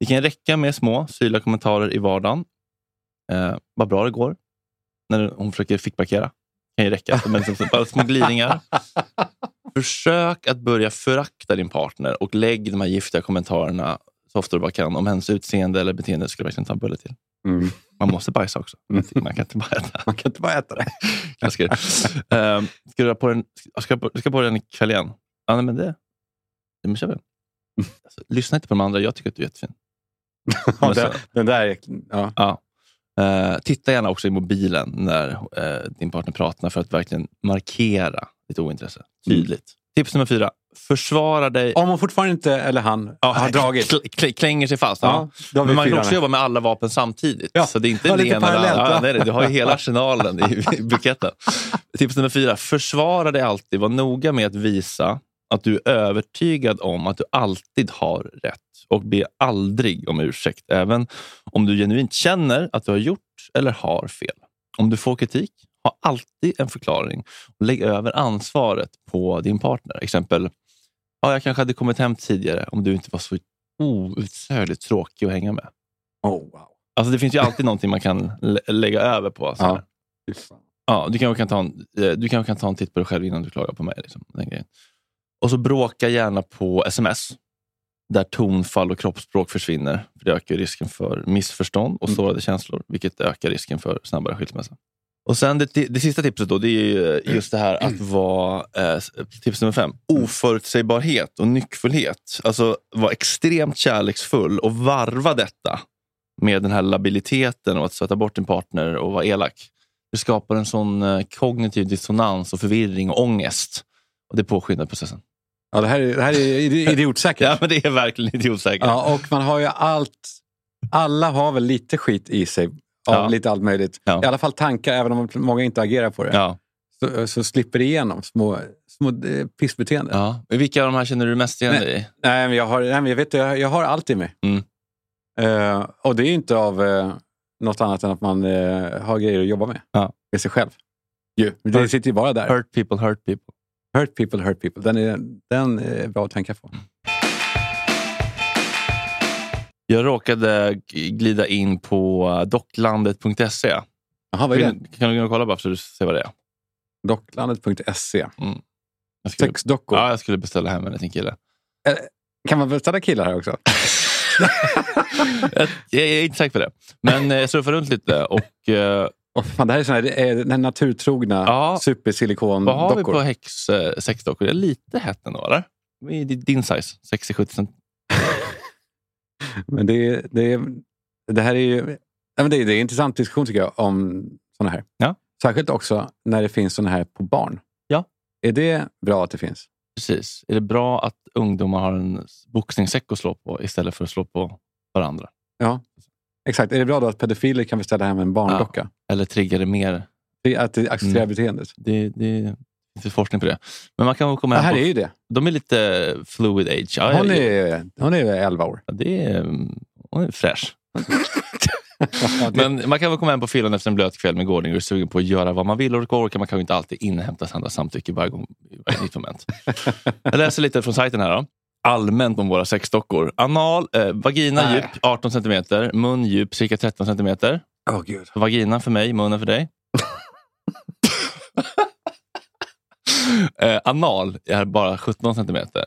Speaker 1: Det kan räcka med små syrliga kommentarer i vardagen. Eh, vad bra det går. När hon försöker fickparkera. kan ju räcka. Men som sagt, bara små glidningar. Försök att börja förakta din partner och lägg de här giftiga kommentarerna så ofta du bara kan. Om hennes utseende eller beteende skulle jag verkligen ta en bulle till.
Speaker 2: Mm.
Speaker 1: Man måste bajsa också. Man kan inte bara äta.
Speaker 2: Man kan inte bara äta det.
Speaker 1: Jag ska, Ehm, ska du ha på den, ska jag på, ska jag på den ikväll igen? Ja, nej, men det... det men kör vi den.
Speaker 2: Mm.
Speaker 1: Alltså, lyssna inte på de andra. Jag tycker att du är jättefin. Men så-
Speaker 2: den, den där är... Ja.
Speaker 1: Ja. Eh, titta gärna också i mobilen när eh, din partner pratar för att verkligen markera ditt ointresse.
Speaker 2: Mm.
Speaker 1: Tydligt. Tips nummer fyra. Försvara dig.
Speaker 2: Om hon fortfarande inte, eller han, har dragit.
Speaker 1: Kl- kl- klänger sig fast. Ja.
Speaker 2: Ja, då har vi
Speaker 1: Men man kan
Speaker 2: fyran
Speaker 1: också
Speaker 2: här.
Speaker 1: jobba med alla vapen samtidigt. Så det är inte
Speaker 2: Ja,
Speaker 1: det
Speaker 2: lite
Speaker 1: ena eller
Speaker 2: parallellt,
Speaker 1: andra.
Speaker 2: va?
Speaker 1: Ja, nej, nej, du har ju hela arsenalen i, i buketten. Tips nummer fyra. Försvara dig alltid. Var noga med att visa att du är övertygad om att du alltid har rätt och be aldrig om ursäkt, även om du genuint känner att du har gjort eller har fel. Om du får kritik, ha alltid en förklaring och lägg över ansvaret på din partner. Exempel, ja, jag kanske hade kommit hem tidigare om du inte var så outsägligt tråkig att hänga med.
Speaker 2: Oh, wow.
Speaker 1: Alltså det finns ju alltid någonting man kan lä- lägga över på. Så här. Ja, du kanske kan, ta en, eh, du kanske kan ta en titt på dig själv innan du klagar på mig. Liksom, den grejen. Och så bråka gärna på sms, där tonfall och kroppsspråk försvinner. För det ökar ju risken för missförstånd och sårade känslor, vilket ökar risken för snabbare skilsmässa. Och sen det, det sista tipset då, det är ju eh, just det här att vara, eh, tips nummer fem, oförutsägbarhet och nyckfullhet. Alltså vara extremt kärleksfull och varva detta med den här labiliteten och att stöta bort din partner och vara elak. Det skapar en sån eh, kognitiv dissonans och förvirring och ångest. Och det påskyndar processen.
Speaker 2: Ja, det, här är, det här är ide- idiotsäkert.
Speaker 1: ja, men det är verkligen idiotsäkert.
Speaker 2: Ja, och man har ju allt... Alla har väl lite skit i sig av
Speaker 1: Ja.
Speaker 2: lite allt möjligt.
Speaker 1: Ja.
Speaker 2: I alla fall tankar, även om många inte agerar på det. Så, så slipper det igenom små, små eh, pissbeteenden.
Speaker 1: Ja. Vilka av de här känner du mest igen dig i?
Speaker 2: Nej, men jag har, nej, men jag, vet, det, jag, jag har allt i mig.
Speaker 1: Mm.
Speaker 2: Eh, och det är ju inte av eh, något annat än att man eh, har grejer att jobba med.
Speaker 1: Ja.
Speaker 2: Med sig själv. Ju. Det
Speaker 1: Hurt-
Speaker 2: sitter ju bara där.
Speaker 1: Hurt people, hurt people.
Speaker 2: Hurt people, hurt people. Den är, den är bra att tänka på.
Speaker 1: Jag råkade g- glida in på eh, docklandet.se.
Speaker 2: Jaha, vad är
Speaker 1: Vill- Kan du gå och kolla bara så du ser vad det är?
Speaker 2: Docklandet.se.
Speaker 1: Mm. Sex dockor? Ja, jag skulle beställa hem en till en kille.
Speaker 2: Kan man beställa killar här också?
Speaker 1: jag, jag är inte säker på det. Men eh, jag surfade runt lite. Och, eh,
Speaker 2: fan, det här är såna här, det är den här naturtrogna
Speaker 1: Vad har vi
Speaker 2: supersilikondockor.
Speaker 1: på hex, eh, sexdockor? Det är lite hett ändå, eller? I di- Din size, 60-70 cent.
Speaker 2: Men det, är- det, är- det här är ju nej, men det är, det är en intressant diskussion tycker jag om såna här. Särskilt också när det finns såna här på barn.
Speaker 1: Ja.
Speaker 2: Är det bra att det finns?
Speaker 1: Precis. Är det bra att ungdomar har en boxningssäck att slå på istället för att slå på varandra?
Speaker 2: Ja, exakt. Är det bra då att pedofiler kan beställa hem en barndocka?
Speaker 1: Eller triggar det mer?
Speaker 2: Att det accelererar
Speaker 1: Mm.
Speaker 2: beteendet?
Speaker 1: Det, det finns forskning på det. Men man kan väl komma
Speaker 2: Det
Speaker 1: hem
Speaker 2: här
Speaker 1: på-
Speaker 2: är ju det.
Speaker 1: De är lite fluid age. Ja,
Speaker 2: Hon
Speaker 1: jag-
Speaker 2: är, hon är 11 år.
Speaker 1: Ja, det är, hon är fräsch. Men man kan väl komma hem på fyllan efter en blöt kväll med gårdning och är sugen på att göra vad man vill och orkar. Man kan ju inte alltid inhämta andra samtycke varje gång i varje nytt moment. Jag läser lite från sajten här. Då. Allmänt om våra sexdockor. Anal, eh, vagina
Speaker 2: Nej.
Speaker 1: djup 18 cm, mun djup cirka 13 cm.
Speaker 2: Åh, gud.
Speaker 1: Vagina för mig, munnen för dig. eh, anal är bara 17 centimeter.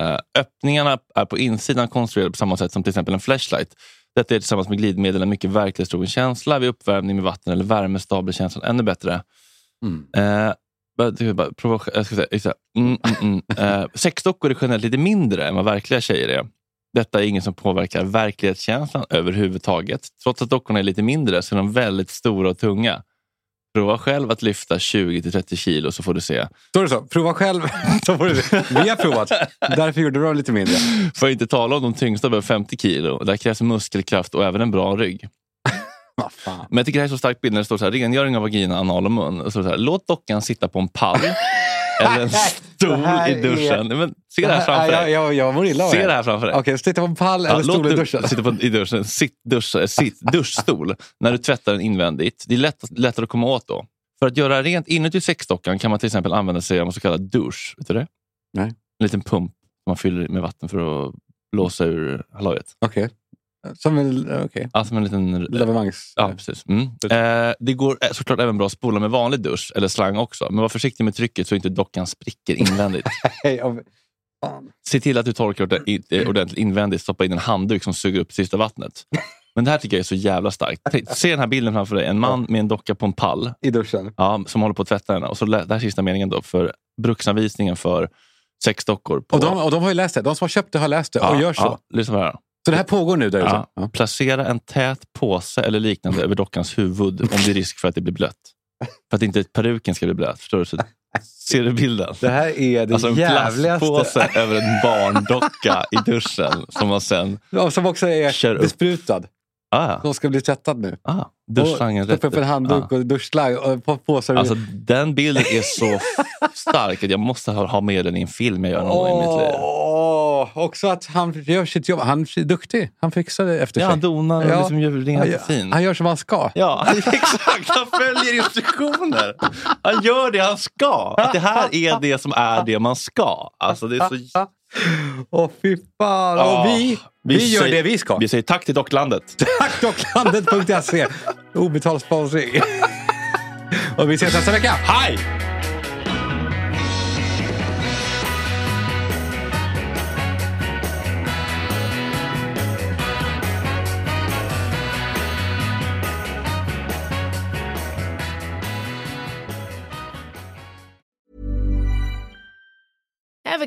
Speaker 1: Eh, öppningarna är på insidan konstruerade på samma sätt som till exempel en flashlight. Detta är tillsammans med glidmedel en mycket verklighetstrogen känsla. Vid uppvärmning med vatten eller värme stablar känslan ännu bättre. Eh, bara- jag bara, provo- jag ska säga, jag ska säga, mm, mm, mm. Eh, sexdockor är generellt lite mindre än vad verkliga tjejer är. Detta är ingen som påverkar verklighetskänslan överhuvudtaget. Trots att dockorna är lite mindre så är de väldigt stora och tunga. Prova själv att lyfta 20-30 kilo så får du se.
Speaker 2: Står det så? Prova själv. så får du se. Vi har provat. Därför gjorde du dem lite mindre.
Speaker 1: Får inte tala om de tyngsta över 50 kilo. Där krävs muskelkraft och även en bra rygg. Men jag tycker det här är så starkt bild när det står så här, rengöring av vagina, anal och mun. Och så så här, låt dockan sitta på en pall eller en
Speaker 2: Det här
Speaker 1: stol i
Speaker 2: är-
Speaker 1: duschen. Men, se det här framför
Speaker 2: jag,
Speaker 1: dig.
Speaker 2: jag, jag mår illa av
Speaker 1: Se det här framför dig.
Speaker 2: Okej, så titta på en pall eller
Speaker 1: Ja,
Speaker 2: stol
Speaker 1: låt
Speaker 2: i
Speaker 1: du-
Speaker 2: duschen.
Speaker 1: Sitta på, i duschen. Sitt, duscha, sitt duschstol när du tvättar den invändigt. Det är lätt, lättare att komma åt då. För att göra rent inuti sexdockan kan man till exempel använda sig av en så kallad dusch. Vet du det?
Speaker 2: Nej.
Speaker 1: En liten pump man fyller med vatten för att blåsa ur hallojet.
Speaker 2: Okej. Som en... Okej.
Speaker 1: Ja, som en liten...
Speaker 2: Levemangs...
Speaker 1: Ja, precis. Mm. Eh, det går eh, såklart även bra att spola med vanlig dusch eller slang också. Men var försiktig med trycket så inte dockan spricker invändigt.
Speaker 2: Hej, av-
Speaker 1: Se till att du torkar orde- i- eh, ordentligt invändigt. Stoppa in en handduk som suger upp sista vattnet. Men det här tycker jag är så jävla starkt. Tänk- Se den här bilden framför dig. En man med en docka på en pall.
Speaker 2: I duschen.
Speaker 1: Ja, som håller på att tvätta den. Och så lä- det här är sista meningen då. För bruksanvisningen för sex dockor. På...
Speaker 2: Och de, och de har ju läst det. De som har köpt det har läst det och
Speaker 1: Ja,
Speaker 2: gör så.
Speaker 1: ja, lyssna på det här.
Speaker 2: Så det här pågår nu där ute?
Speaker 1: Ja. Alltså, Placera en tät påse eller liknande över dockans huvud om det är risk för att det blir blött. För att inte peruken ska bli blöt. Förstår du? Så, ser du bilden?
Speaker 2: Det här är det
Speaker 1: alltså en
Speaker 2: jävligaste.
Speaker 1: plastpåse över en barndocka i duschen som man sen...
Speaker 2: Ja, Som också är besprutad.
Speaker 1: Ah.
Speaker 2: De ska bli tvättad nu.
Speaker 1: Ah. Duschslangen
Speaker 2: Och Stoppa upp
Speaker 1: rätt
Speaker 2: en
Speaker 1: ut.
Speaker 2: handduk
Speaker 1: Ah.
Speaker 2: och duschslang och på påsar.
Speaker 1: Alltså, den bilden är så f- stark att jag måste ha ha med den i en film jag gör någon gång i mitt liv.
Speaker 2: Åh, också att han gör sitt jobb. Han är duktig. Han fixar det efter
Speaker 1: Ja,
Speaker 2: sig.
Speaker 1: han donar och liksom gör rent
Speaker 2: han, gör-
Speaker 1: fint.
Speaker 2: han gör som han ska.
Speaker 1: Ja, exakt. Han följer instruktioner. Han gör det han ska. Att det här är det som är det man ska. Alltså, det är så...
Speaker 2: Åh, fy fan.
Speaker 1: Ah.
Speaker 2: och vi, vi, gör
Speaker 1: säger-
Speaker 2: det vi ska.
Speaker 1: Vi säger tack till Docklandet.
Speaker 2: Docklandet.se. Obetald sponsring. och vi ses nästa vecka.
Speaker 1: Hej!
Speaker 10: Ever